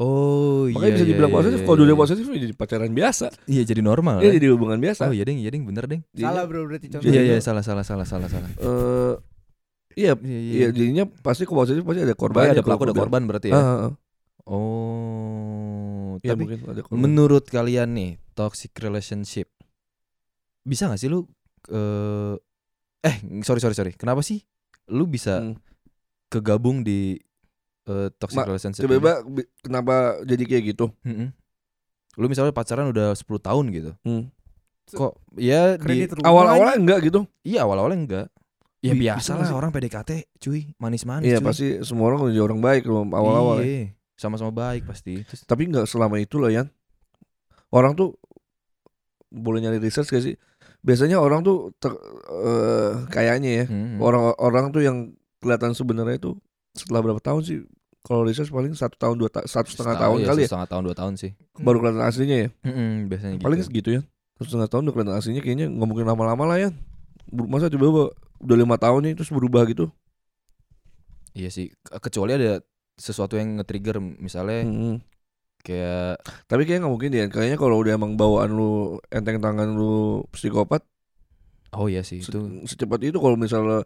S4: Oh iya.
S3: Makanya bisa
S4: iya,
S3: dibilang
S4: iya,
S3: posesif.
S4: iya,
S3: Kalau dua
S4: iya.
S3: posesif ya jadi pacaran biasa.
S4: Iya jadi normal.
S3: Iya
S4: ya.
S3: jadi hubungan biasa.
S4: Oh iya deng, iya deng, bener deng.
S3: Jadinya,
S1: Salah bro berarti contohnya.
S4: Iya iya salah salah salah salah salah.
S3: eh, iya,
S4: Iya
S3: iya jadinya pasti kalau posesif pasti ada
S4: Korban iya.
S3: korbannya.
S4: ada pelaku
S3: kalau
S4: ada
S3: gua bilang.
S4: korban berarti ya.
S3: Ah, ah, ah.
S4: Oh.
S3: Iya,
S4: tapi
S3: mungkin ada korban.
S4: menurut kalian nih toxic relationship bisa nggak sih lu eh eh sorry sorry sorry kenapa sih lu bisa
S3: Hmm.
S4: kegabung di eh, toxic
S3: Ma,
S4: relationship ini?
S3: tiba-tiba bi- kenapa jadi kayak gitu
S4: Mm-mm. lu misalnya pacaran udah 10 tahun gitu
S3: Hmm.
S4: kok ya di
S1: Kredit rumah
S3: awal-awalnya enggak gitu
S4: iya awal-awalnya enggak ya
S3: Bi-
S4: biasa
S3: bisa
S4: lah
S3: nggak sih?
S4: orang PDKT cuy manis-manis
S3: iya
S4: cuy.
S3: pasti semua orang jadi orang baik loh awal-awal ya.
S4: Kan Iya, sama-sama baik pasti Terus-
S3: tapi nggak selama itu lah Yan orang tuh boleh nyari research gak sih biasanya orang tuh ter- eh, kayaknya ya
S4: Mm-mm.
S3: orang-orang tuh yang kelihatan sebenarnya itu setelah berapa tahun sih kalau research paling satu tahun dua ta- satu setengah tahun
S4: Setahun, ya,
S3: kali ya
S4: setengah tahun dua tahun sih
S3: baru kelihatan aslinya ya
S4: Mm-mm, biasanya gitu.
S3: paling segitu ya satu setengah tahun udah kelihatan aslinya kayaknya nggak mungkin lama-lama lah ya masa coba udah lima tahun nih terus berubah gitu
S4: Iya sih, ke- kecuali ada sesuatu yang nge-trigger misalnya
S3: Mm-mm.
S4: kayak
S3: Tapi kayaknya nggak mungkin ya. Kayaknya kalau udah emang bawaan lu enteng tangan lu psikopat
S4: oh iya sih
S3: se-
S4: itu
S3: secepat itu kalau misalnya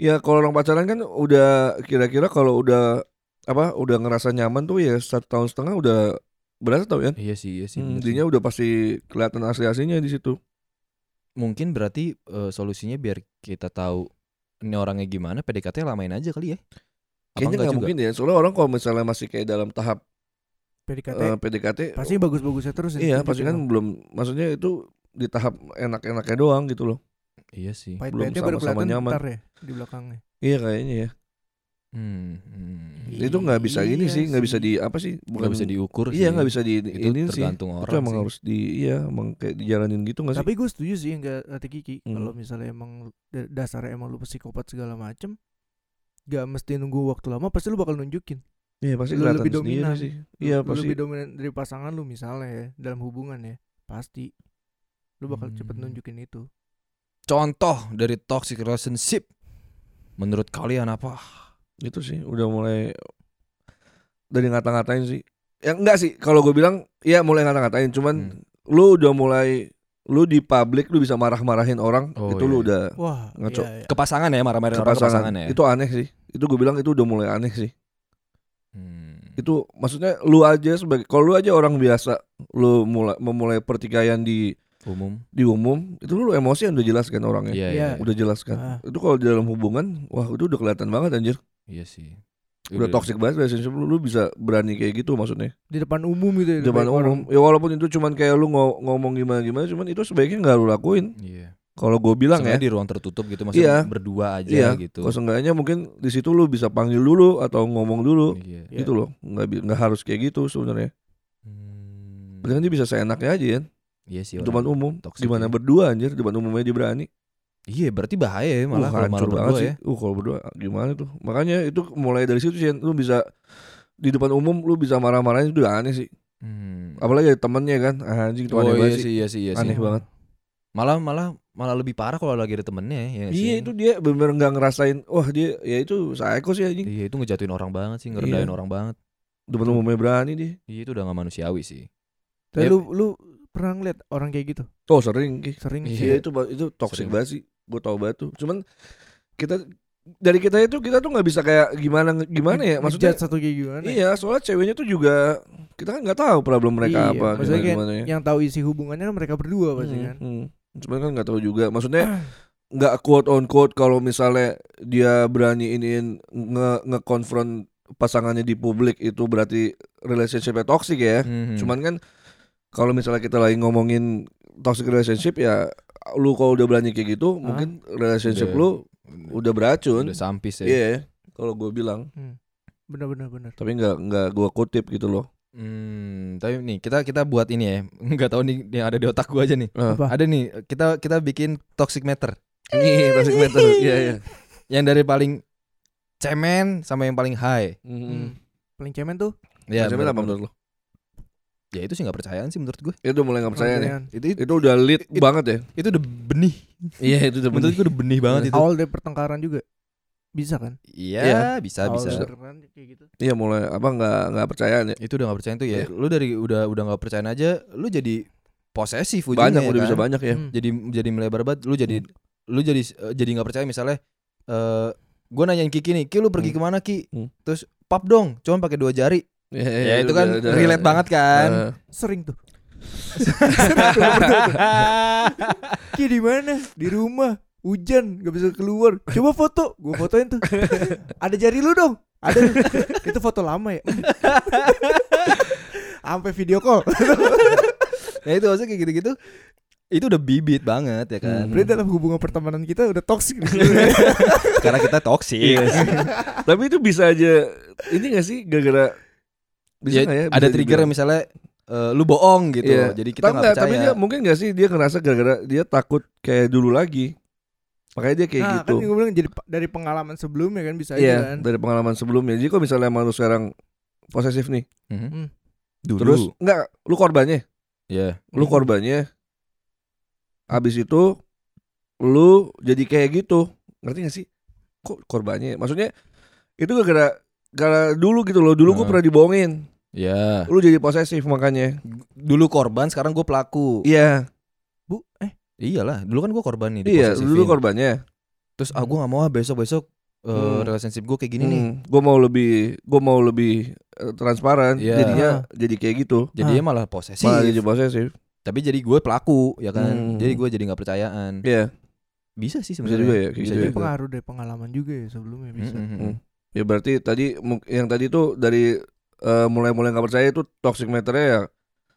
S3: ya kalau orang pacaran kan udah kira-kira kalau udah apa udah ngerasa nyaman tuh ya satu tahun setengah udah berasa tau ya.
S4: iya sih iya sih.
S3: Hmm,
S4: bener
S3: Intinya
S4: sih.
S3: udah pasti kelihatan asli-aslinya di situ.
S4: Mungkin berarti eh, solusinya biar kita tahu ini orangnya gimana, PDKT lamain aja kali ya.
S3: Kayaknya
S4: Apa enggak
S3: nggak
S4: juga?
S3: mungkin ya. Soalnya orang kalau misalnya masih kayak dalam tahap
S1: PDKT
S3: eh, PDKT,
S1: pasti bagus-bagusnya terus ya.
S3: iya pasti kan belum. Maksudnya itu di tahap enak-enaknya doang gitu loh.
S4: Iya sih.
S1: pahit-pahitnya
S3: belum
S1: baru
S3: sama-sama
S1: kelihatan
S3: nyaman.
S1: ntar ya di belakangnya
S3: Iya kayaknya ya.
S4: Hmm, hmm.
S3: Itu nggak bisa ini
S1: Iya
S3: sih, nggak bisa
S1: sih.
S3: di apa sih?
S4: Nggak bisa diukur sih.
S3: Iya nggak bisa di
S4: Itu
S3: ini sih.
S4: tergantung
S3: Itu
S4: orang
S3: emang
S4: sih.
S3: harus di iya emang kayak dijalanin gitu nggak sih?
S1: tapi gue setuju sih enggak kata Kiki
S3: Hmm.
S1: kalau misalnya emang lu- da- dasarnya emang lu psikopat segala macem gak mesti nunggu waktu lama pasti lu bakal nunjukin
S3: Iya pasti
S1: lu
S3: kelihatan
S1: lebih
S3: sendiri
S1: dominan.
S3: sih. Iya
S1: lu
S3: pasti.
S1: lebih dominan dari pasangan lu misalnya ya dalam hubungan ya pasti lu bakal cepet
S4: Hmm.
S1: nunjukin itu
S4: Contoh dari toxic relationship menurut kalian apa?
S3: Itu sih udah mulai dari ngata-ngatain sih. Ya enggak sih kalau gue bilang ya mulai ngata-ngatain cuman
S4: Hmm.
S3: lu udah mulai lu di publik lu bisa marah-marahin orang
S4: Oh,
S3: itu lu
S4: iya.
S3: udah
S1: wah
S3: Ngaco.
S1: iya, iya.
S4: Ke pasangan ya
S3: ke
S4: marah-marahin orang ke
S3: pasangan.
S4: pasangan ya.
S3: Itu aneh sih. Itu gue bilang itu udah mulai aneh sih.
S4: Hmm.
S3: Itu maksudnya lu aja sebagai kalau lu aja orang biasa lu mulai memulai pertikaian di
S4: umum.
S3: di umum itu lu emosian udah jelas kan orangnya.
S4: Iya,
S1: Iya.
S4: iya.
S3: udah jelas kan
S1: Ah.
S3: itu kalau di dalam hubungan wah itu udah kelihatan banget anjir
S4: Iya sih.
S3: udah
S4: Iya.
S3: toxic banget relationship lu, lu bisa berani kayak gitu maksudnya
S1: di depan umum gitu ya
S4: Iya,
S1: di
S3: zaman
S1: depan orang.
S3: umum ya walaupun itu cuman kayak lu ngo- ngomong gimana gimana cuman itu sebaiknya nggak lu lakuin
S4: Iya.
S3: kalau gue bilang
S4: Sengaja
S3: ya
S4: di ruang tertutup gitu
S3: Iya.
S4: maksudnya berdua aja
S3: Iya,
S4: gitu.
S3: kalau seenggaknya mungkin di situ lu bisa panggil dulu atau ngomong dulu
S4: Iya.
S1: Iya.
S3: gitu loh nggak bi- nggak harus kayak gitu sebenarnya
S4: Hmm.
S3: Berarti kan dia bisa seenaknya aja ya
S4: Iya sih.
S3: di
S4: orang
S3: depan umum
S4: toxic
S3: gimana
S4: ya.
S3: berdua anjir di depan umumnya dia berani
S4: Iya, berarti bahaya ya
S3: Uh,
S4: malah kalau malah
S3: hancur
S4: berdua
S3: banget sih.
S4: ya.
S3: Uh, kalau berdua gimana tuh? Makanya itu mulai dari situ sih, Yan. lu bisa di depan umum lu bisa marah-marahin itu udah aneh sih.
S4: Hmm.
S3: Apalagi ada temennya kan, ah, anjing itu
S4: Oh
S3: aneh
S4: iya
S3: banget sih.
S4: sih, iya sih, iya
S3: Aneh
S4: sih.
S3: banget.
S4: Malah malah malah lebih parah kalau lagi ada temennya ya. nggak sih?
S3: Iya itu dia benar nggak ngerasain, wah dia ya itu psycho sih anjing.
S4: Iya itu ngejatuhin orang
S3: Iya.
S4: banget sih, ngerendahin orang banget.
S3: Depan umumnya berani dia.
S4: Iya itu udah gak manusiawi sih.
S1: Tapi
S4: Iya.
S1: lu lu pernah ngeliat orang kayak gitu
S3: Oh sering. Ki.
S1: sering
S3: Iya
S4: Iya.
S3: itu ba- itu toxic
S4: Sering.
S3: banget sih. Gue tau banget tuh. Cuman kita dari kita itu kita tuh nggak bisa kayak gimana gimana ya maksudnya
S1: Ngejudge satu kayak gimana ya?
S3: iya soalnya ceweknya tuh juga kita kan nggak tahu problem mereka
S1: Iya,
S3: apa
S1: maksudnya kayak
S3: gimana-gimana ya.
S1: yang tahu isi hubungannya kan mereka berdua pasti
S3: Hmm,
S1: kan
S3: hmm. Cuman kan nggak tahu juga. Maksudnya nggak quote on quote kalau misalnya dia berani iniin nge ngekonfront pasangannya di publik itu berarti relationshipnya toxic ya.
S4: Mhm.
S3: Cuman kan kalau misalnya kita lagi ngomongin toxic relationship ya lu kalau udah berani kayak gitu mungkin relationship
S4: Udah-
S3: lu udah beracun.
S4: udah sampis
S3: Iya.
S4: ya.
S3: Kalau gue bilang,
S1: bener-bener bener
S3: tapi nggak nggak gue kutip gitu loh.
S4: Hmm, tapi nih kita kita buat ini ya. Enggak tahu nih yang ada di otak gua aja nih.
S3: Nah,
S1: Apa?
S4: Ada nih, kita kita bikin toxic meter.
S3: ini toxic metal. Iya iya.
S4: Yang dari paling cemen sampai yang paling high.
S1: Hmm.
S3: Mm.
S1: paling cemen tuh
S4: Ya,
S3: Maksudnya apa
S4: bener-
S3: menurut lo?
S4: Ya itu sih nggak percayaan sih menurut gue.
S3: Itu mulai nggak percaya nih.
S1: perceraian.
S4: Itu itu,
S3: Itu udah lit
S4: It-
S3: banget ya.
S4: itu udah benih.
S3: Iya itu udah
S4: Menurut gue udah benih banget itu.
S1: awal dari pertengkaran juga bisa kan
S4: Iya,
S3: Iya.
S4: bisa
S1: awal
S4: bisa.
S1: dari pertengkaran kayak gitu
S3: Iya mulai apa nggak nggak percayaan ya.
S4: Itu udah nggak percayaan tuh ya.
S3: Iya.
S4: Lu dari udah udah nggak percayaan aja, lu jadi posesif ujungnya.
S3: Banyak udah
S4: kan?
S3: bisa banyak ya.
S1: Hmm.
S4: Jadi jadi melebar banget. Lu jadi lu jadi eh, jadi nggak percaya misalnya eh gua nanyain Kiki nih, Ki lu pergi
S3: Hmm.
S4: kemana Ki?
S3: Hmm.
S4: Terus pap dong, cuman pakai dua jari.
S3: Ya,
S4: ya itu kan relate banget kan
S1: Sering tuh. Sering tuh, gua berdua tuh. Ki di mana? Di rumah. Hujan, gak bisa keluar. Coba foto, gue fotoin tuh. Ada jari lu dong. Ada. Itu foto lama ya. Sampai video call.
S4: ya itu maksudnya kayak gitu-gitu itu udah bibit banget ya kan
S3: Hmm.
S1: Berarti dalam hubungan pertemanan kita udah toksik.
S4: karena kita toksik
S3: Iya sih. Tapi itu bisa aja ini gak sih gara-gara bisa
S4: Ya,
S3: nggak ya? Bisa
S4: ada trigger yang
S3: dibilang.
S4: misalnya eh, lu bohong gitu
S3: Iya.
S4: jadi kita
S3: Tapi
S4: nggak
S3: nggak, Tapi
S4: percaya
S3: dia mungkin gak sih dia ngerasa gara-gara dia takut kayak dulu lagi. Makanya dia kayak
S1: nah,
S3: gitu.
S1: kan gue bilang jadi pa- dari pengalaman sebelumnya kan bisa aja
S4: gitu
S3: Iya,
S1: kan.
S3: dari pengalaman sebelumnya. Jadi kalau misalnya emang lu sekarang posesif nih,
S4: Mhm.
S1: Hmm.
S4: dulu
S3: terus enggak lu korbannya,
S4: ya
S3: lu korbannya. Habis itu lu jadi kayak gitu. Ngerti gak sih? Kok korbannya? Maksudnya itu gara-gara gara dulu gitu loh. Dulu gue
S4: Hmm.
S3: pernah dibohongin.
S4: ya
S3: Lu jadi posesif makanya.
S4: dulu korban sekarang gue pelaku
S3: Iya,
S1: Bu, eh
S4: iyalah dulu kan gue korban nih
S3: iya,
S4: diposesifin.
S3: dulu korbannya.
S4: terus ah gue nggak mau ah besok besok
S3: Hmm.
S4: relationship gue kayak gini nih
S3: Ini gue Hmm. mau lebih, gue mau lebih eh, transparan.
S4: Iya.
S3: Jadinya jadi kayak gitu.
S4: jadinya malah posesif
S3: Malah jadi posesif.
S4: tapi jadi gue pelaku ya kan
S3: Hmm.
S4: jadi gue jadi nggak percayaan
S3: Iya,
S4: bisa sih
S3: bisa
S4: sebenarnya
S3: juga ya. kayak
S4: Bisa
S3: gitu
S1: jadi
S3: ya.
S4: juga.
S1: pengaruh dari pengalaman juga ya sebelumnya bisa.
S4: Mm-mm.
S3: Hmm. Ya berarti tadi mung- yang tadi tuh dari eh, mulai-mulai nggak percaya itu toxic meternya ya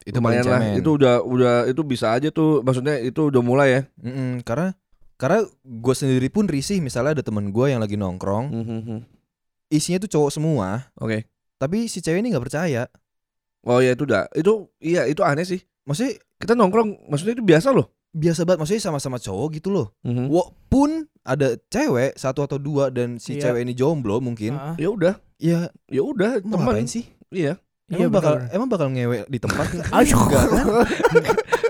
S4: itu
S3: lumayan lah.
S4: pencemen.
S3: Itu udah udah itu bisa aja tuh. Maksudnya itu udah mulai ya.
S4: Mm-mm. karena karena gue sendiri pun risih misalnya ada teman gue yang lagi nongkrong isinya tuh cowok semua
S3: Oke.
S4: tapi si cewek ini nggak percaya
S3: Oh ya itu udah. Itu iya itu aneh sih.
S4: maksudnya
S3: Kita nongkrong, maksudnya itu biasa loh.
S4: biasa banget maksudnya sama-sama cowok gitu loh
S3: Hmm.
S4: walaupun ada cewek satu atau dua dan si
S1: Iya.
S4: cewek ini jomblo mungkin
S1: Ah,
S3: Ya udah,
S4: ya
S3: ya udah
S4: mau ngapain
S3: teman.
S4: sih
S3: Iya,
S1: iya
S4: emang bakal
S1: benar.
S4: emang bakal ngewe di tempat nggak?
S1: Aduh.
S4: Nggak kan?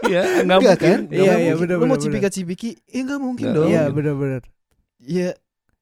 S3: iya, nggak
S4: Nggak
S3: mungkin.
S4: kan?
S3: Nggak
S1: Iya,
S3: mungkin.
S1: iya,
S4: Mungkin.
S1: bener,
S4: lu mau
S1: bener,
S4: cipika cipiki ya nggak mungkin
S3: Nggak,
S4: dong
S1: Iya
S3: gitu.
S1: benar-benar.
S4: ya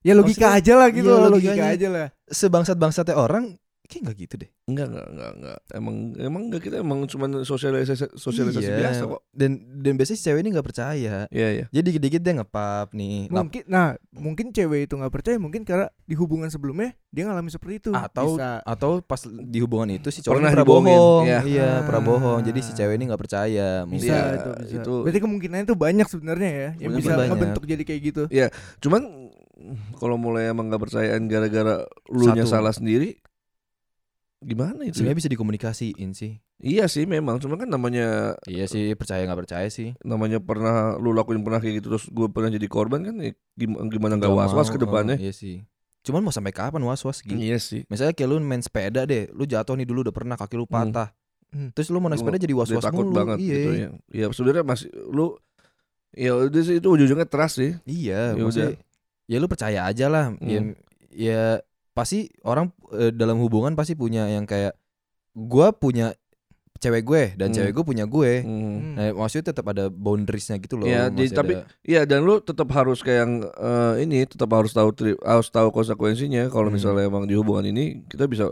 S1: Ya logika
S4: Maksudnya-
S1: aja lah gitu
S4: iya,
S1: loh, logika
S4: logikanya.
S1: aja lah.
S4: sebangsat bangsatnya orang kayak nggak gitu deh
S3: Enggak, enggak, enggak, enggak. Emang emang enggak kita emang cuma sosialisasi sosialisasi
S4: Iya.
S3: biasa kok.
S4: dan dan biasanya si cewek ini nggak percaya
S3: Iya, iya.
S4: jadi dikit-dikit dia ngepap nih lap-
S1: Mungkin nah, mungkin cewek itu nggak percaya mungkin karena di hubungan sebelumnya dia ngalami seperti itu.
S4: atau
S1: Bisa.
S3: Hmm,
S4: atau pas di hubungan itu si cowok
S3: Pernah
S4: ini pernah
S3: dibohongin,
S4: bohong
S3: iya.
S4: iya pernah
S1: Ah.
S4: bohong jadi si cewek ini nggak percaya mungkin.
S1: bisa
S3: Iya,
S1: itu, bisa.
S3: itu-
S1: Berarti kemungkinannya itu banyak sebenarnya ya yang
S3: Sebenarnya
S1: bisa
S4: banyak.
S1: ngebentuk jadi kayak gitu.
S3: Cuman kalau mulai emang nggak percayaan gara-gara lu nya
S4: Satu. Iya.
S3: salah sendiri gimana itu? ya?
S4: sebenarnya bisa dikomunikasiin sih
S3: Iya sih memang, cuma kan namanya
S4: iya sih percaya nggak percaya sih
S3: namanya pernah lu lakuin pernah kayak gitu terus gue pernah jadi korban kan ya gim- gimana nggak
S4: Nggak
S3: was-was
S4: mau,
S3: ke depannya.
S4: oh, iya sih cuman mau sampai kapan was was gitu
S3: Iya sih.
S4: misalnya kayak lu main sepeda deh lu jatuh nih dulu udah pernah kaki lu
S3: Hmm.
S4: patah
S1: Hmm.
S4: terus lu mau naik
S3: Lu
S4: sepeda jadi was
S3: Dia
S4: was
S3: takut
S4: mulu
S3: banget
S4: iya
S3: gitu ya. Ya sebenarnya masih lu ya udah sih itu ujung-ujungnya trust sih.
S4: iya
S3: Ya Hmm.
S4: maksudnya ya lu percaya aja lah ya, ya pasti orang eh, dalam hubungan pasti punya yang kayak gua punya cewek gue dan
S3: Hmm.
S4: cewek gue punya gue
S3: Hmm.
S1: Hmm.
S4: Nah, maksudnya tetap ada boundariesnya gitu loh.
S3: Iya,
S4: masih
S3: di- tapi-
S4: ada-
S3: Iya dan lu tetap harus kayak yang eh, ini tetap harus tahu tri- harus tahu konsekuensinya kalau
S4: Hmm.
S3: misalnya emang di hubungan ini kita bisa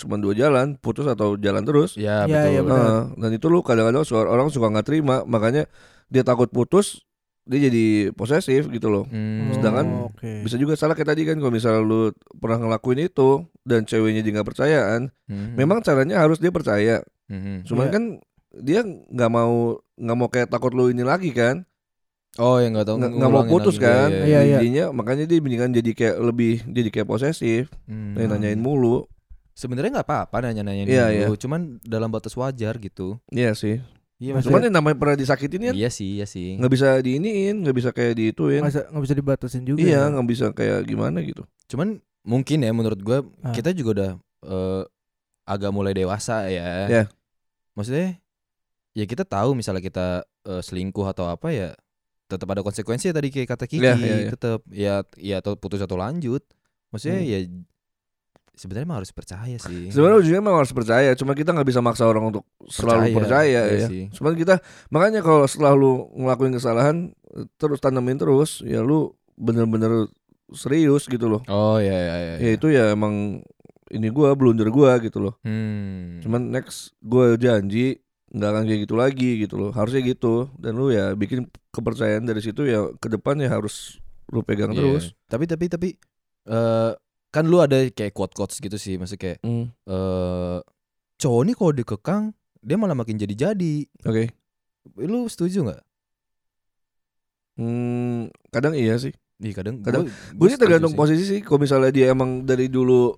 S3: cuma dua jalan putus atau jalan terus.
S4: ya,
S1: Iya,
S4: betul.
S1: iya, benar.
S3: Eh, dan itu lu kadang-kadang suka- orang suka nggak terima makanya dia takut putus dia jadi posesif gitu loh.
S4: Hmm.
S3: Sedangkan
S1: Oh, oke.
S3: Bisa juga salah kayak tadi kan kalau misalnya lu pernah ngelakuin itu dan ceweknya dia nggak percayaan,
S4: Hmm.
S3: memang caranya harus dia percaya.
S4: Hmm.
S3: Cuman
S1: Iya.
S3: kan dia nggak mau nggak mau kayak takut lu ini lagi kan.
S4: Oh, ya enggak tahu
S3: nggak nggak mau
S4: ngulangin
S3: putus
S4: lagi. Iya,
S3: kan
S4: iya,
S1: Iya, iya.
S3: jadinya makanya dia mendingan jadi kayak lebih jadi kayak posesif
S4: Hmm.
S3: dia nanyain mulu
S4: Sebenarnya nggak apa-apa nanya-nanyain
S3: Iya,
S4: dulu, cuman dalam batas wajar gitu.
S3: iya sih
S4: Iya,
S3: cuman yang namanya pernah disakitin ya
S4: Iya sih, iya sih.
S3: nggak bisa diiniin nggak bisa kayak diituin
S1: nggak bisa, nggak bisa dibatasin juga.
S3: iya
S1: ya.
S3: nggak bisa kayak gimana gitu
S4: Cuman mungkin ya menurut gua
S1: Ah.
S4: kita juga udah eh, agak mulai dewasa ya.
S3: Iya.
S4: Maksudnya ya kita tahu misalnya kita eh, selingkuh atau apa ya tetap ada konsekuensi ya tadi kayak kata Kiki
S3: Iya, iya, iya.
S4: tetap ya ya atau putus atau lanjut. Maksudnya
S3: Hmm.
S4: ya sebenarnya mah harus percaya sih.
S3: sebenarnya ujungnya memang harus percaya cuma kita nggak bisa maksa orang untuk selalu percaya,
S4: Iya
S3: ya
S4: sih.
S3: cuman kita makanya kalau selalu ngelakuin kesalahan terus tanamin terus ya lu bener-bener serius gitu loh
S4: Oh ya ya ya.
S3: ya itu ya emang ini gua blunder gua gitu loh
S4: Hmm.
S3: Cuman next gue janji nggak akan kayak gitu lagi gitu loh. Harusnya gitu. Dan lu ya bikin kepercayaan dari situ ya ke depan ya harus lu pegang
S4: Iya.
S3: terus.
S4: Tapi tapi tapi eh kan lu ada kayak quote quotes gitu sih, maksudnya kayak eh cowok nih kalau dikekang dia malah makin jadi-jadi.
S3: Oke.
S4: Lu setuju nggak?
S3: Hmm, kadang iya sih.
S4: Ih kadang.
S3: Kadang-
S4: gua- gua
S3: Gue sih
S4: setuju
S3: tergantung
S4: sih.
S3: posisi sih. Kalau misalnya dia emang dari dulu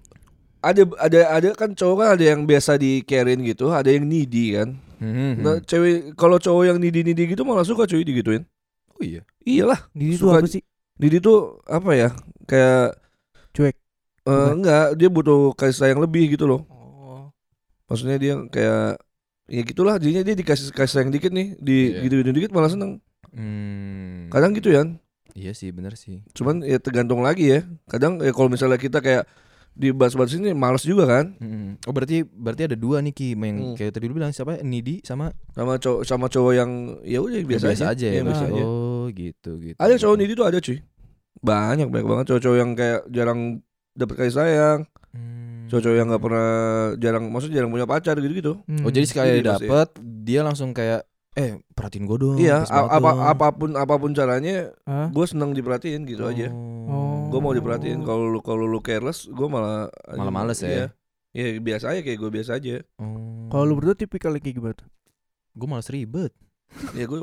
S3: ada ada ada kan cowok kan ada yang biasa di carein gitu, ada yang needy kan.
S4: Mhm.
S3: Nah, cewek kalau cowok yang needy needy gitu malah suka cuy digituin.
S4: oh iya.
S3: Iyalah,
S1: Diri itu
S3: Suka-
S1: apa sih?
S3: needy tuh apa ya? Kayak
S1: Cuek.
S3: eh,
S1: Bukan.
S3: enggak, dia butuh kasih sayang lebih gitu loh.
S1: Oh.
S3: Maksudnya dia kayak ya gitulah jadinya dia dikasih kasih sayang dikit nih, di
S4: Iya.
S3: gitu dikit malah seneng.
S4: Hmm.
S3: Kadang gitu ya.
S4: Iya sih bener sih.
S3: Cuman ya tergantung lagi ya. Kadang ya kalau misalnya kita kayak di bas-bas ini males juga kan
S4: Mhm. Oh berarti berarti ada dua nih Ki
S3: Hmm.
S4: yang kayak tadi lu bilang siapa Nidi sama
S3: sama cowok sama cowok yang ya udah biasa,
S4: biasa aja ya.
S3: Iya, biasa
S1: Ah.
S3: aja.
S4: Oh gitu gitu.
S3: Ada cowok nidi tuh ada cuy. Banyak banyak banget cowok-cowok yang kayak jarang dapat kasih sayang,
S4: Hmm.
S3: cowok-cowok yang nggak pernah jarang maksudnya jarang punya pacar gitu-gitu.
S1: Hmm,
S4: Oh jadi
S3: Jadi
S4: sekali
S3: pasti.
S4: dapet dia langsung kayak eh perhatiin gue dong.
S3: Iya,
S4: pas banget
S3: a- apa
S4: dong."
S3: apapun apapun caranya
S1: Hah?
S3: gue senang diperhatiin gitu aja.
S1: Oh.
S3: Gue mau diperhatiin kalau lu kalau lu careless gue malah
S4: Malah males ya?
S3: Iya, Iya, biasa aja kayak gue biasa aja.
S1: Kalau lu berdua tipikal kayak gimana tuh?
S4: gue malas ribet.
S3: ya gue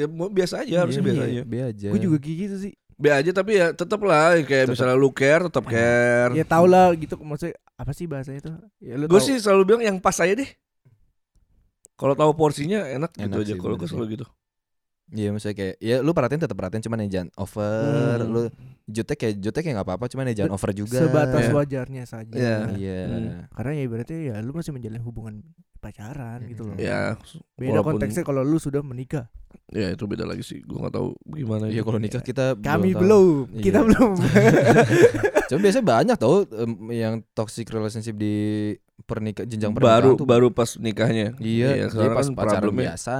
S3: ya, biasa aja harusnya
S4: Iya,
S3: biasa aja.
S4: iya, Be aja.
S1: Gue juga kayak gitu sih.
S3: Biasa aja tapi ya tetap lah kayak
S4: Tetep.
S3: misalnya lu care tetap care.
S1: Ya tau lah gitu maksudnya apa sih bahasanya tuh? Ya lu
S3: Gue
S1: tau.
S3: sih selalu bilang yang pas aja deh. Kalau tahu porsinya enak, gitu
S4: Enak
S3: aja.
S4: sih,
S3: Kalau
S4: bener
S3: gue
S4: sih.
S3: selalu gitu.
S4: Iya maksudnya kayak ya lu perhatiin tetap perhatiin cuman ya jangan over.
S3: Hmm.
S4: Lu jutek ya jutek ya nggak apa-apa cuman ya jangan over juga.
S1: sebatas
S3: Iya.
S1: wajarnya saja.
S3: Iya.
S4: Iya.
S3: Hmm.
S1: Karena ya ibaratnya ya lu masih menjalin hubungan pacaran gitu loh.
S4: Iya.
S3: Ya,
S1: Beda
S3: walaupun-
S1: konteksnya kalau lu sudah menikah.
S3: ya itu beda lagi sih. Gue nggak tahu gimana. gitu.
S4: Iya
S3: itu.
S4: kalau nikah kita
S1: Kami
S4: tahu.
S1: belum,
S4: Iya.
S1: kita belum.
S4: Cuma biasanya banyak tau em, yang toxic relationship di pernikah jenjang pernikahan
S3: baru
S4: tuh.
S3: baru pas nikahnya.
S4: Iya, jadi
S3: sekarang
S4: pas
S3: kan
S4: pacaran
S3: problemnya
S4: biasa,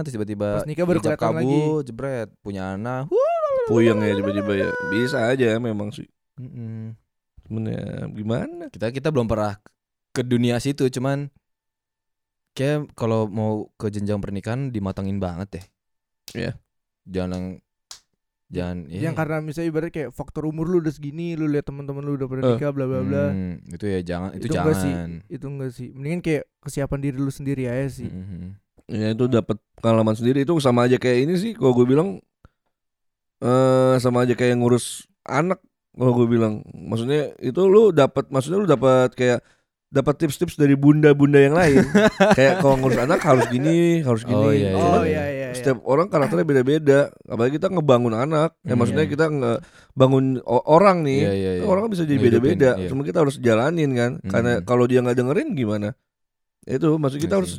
S4: terus tiba-tiba
S1: Pas nikah baru
S4: hijab
S1: kelihatan lagi.
S4: kabul, jebret, punya anak. Huh.
S3: puyeng ya tiba-tiba ya. Bisa aja memang sih.
S4: Mm-mm.
S3: Cuman ya gimana?
S4: Kita kita belum pernah ke dunia situ, cuman kayak kalau mau ke jenjang pernikahan dimatangin banget deh.
S3: Iya.
S4: Jangan yang- jangan iya.
S1: Yang karena misalnya ibarat kayak faktor umur lu udah segini, lu lihat teman-teman lu udah pada
S3: Eh.
S1: nikah bla bla bla.
S4: Hmm, itu ya jangan itu,
S1: Itu enggak sih.
S4: jangan.
S1: Itu enggak sih. Mendingan kayak kesiapan diri lu sendiri aja sih.
S4: Mm-mm.
S3: Ya itu dapat pengalaman sendiri itu sama aja kayak ini sih kalau gue bilang eh sama aja kayak ngurus anak kalau gue bilang. Maksudnya itu lu dapat maksudnya lu dapat kayak dapat tips-tips dari bunda-bunda yang lain. kayak kalau ngurus anak harus gini, harus gini.
S4: Oh, iya,
S3: Cuman
S1: Oh iya iya. iya.
S3: Setiap orang karakternya beda-beda. Apalagi kita ngebangun anak. Ya
S4: Hmm.
S3: maksudnya kita ngebangun o- orang nih.
S4: Iya, iya, iya.
S3: Orang kan bisa jadi
S4: Ngehidupin,
S3: beda-beda.
S4: iya.
S3: Cuma kita harus jalanin kan.
S4: Hmm.
S3: Karena kalau dia nggak dengerin gimana? Itu maksud kita
S4: Iya
S3: harus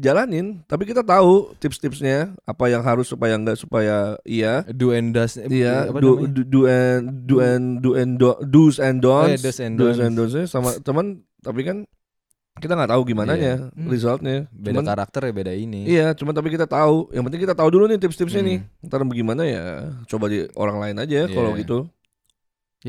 S3: jalanin. Tapi kita tahu tips-tipsnya apa yang harus supaya nggak supaya iya.
S4: Do and does eh,
S3: Iya,
S4: apa
S3: do,
S4: namanya?
S3: do, do and do and do and do, do's and don'ts,
S4: Oh, iya, do's and
S3: Do's and
S4: don'ts.
S3: don'ts-nya sama teman. Tapi kan kita nggak tahu gimana
S4: Iya.
S3: nya
S1: Hmm.
S3: resultnya.
S4: beda
S3: Cuman-
S4: karakter ya beda ini.
S3: Iya, cuma tapi kita tahu. Yang penting kita tahu dulu nih tips-tipsnya
S4: Hmm.
S3: nih. Ntar bagaimana ya? Coba di orang lain aja kalau
S4: Iya.
S3: gitu.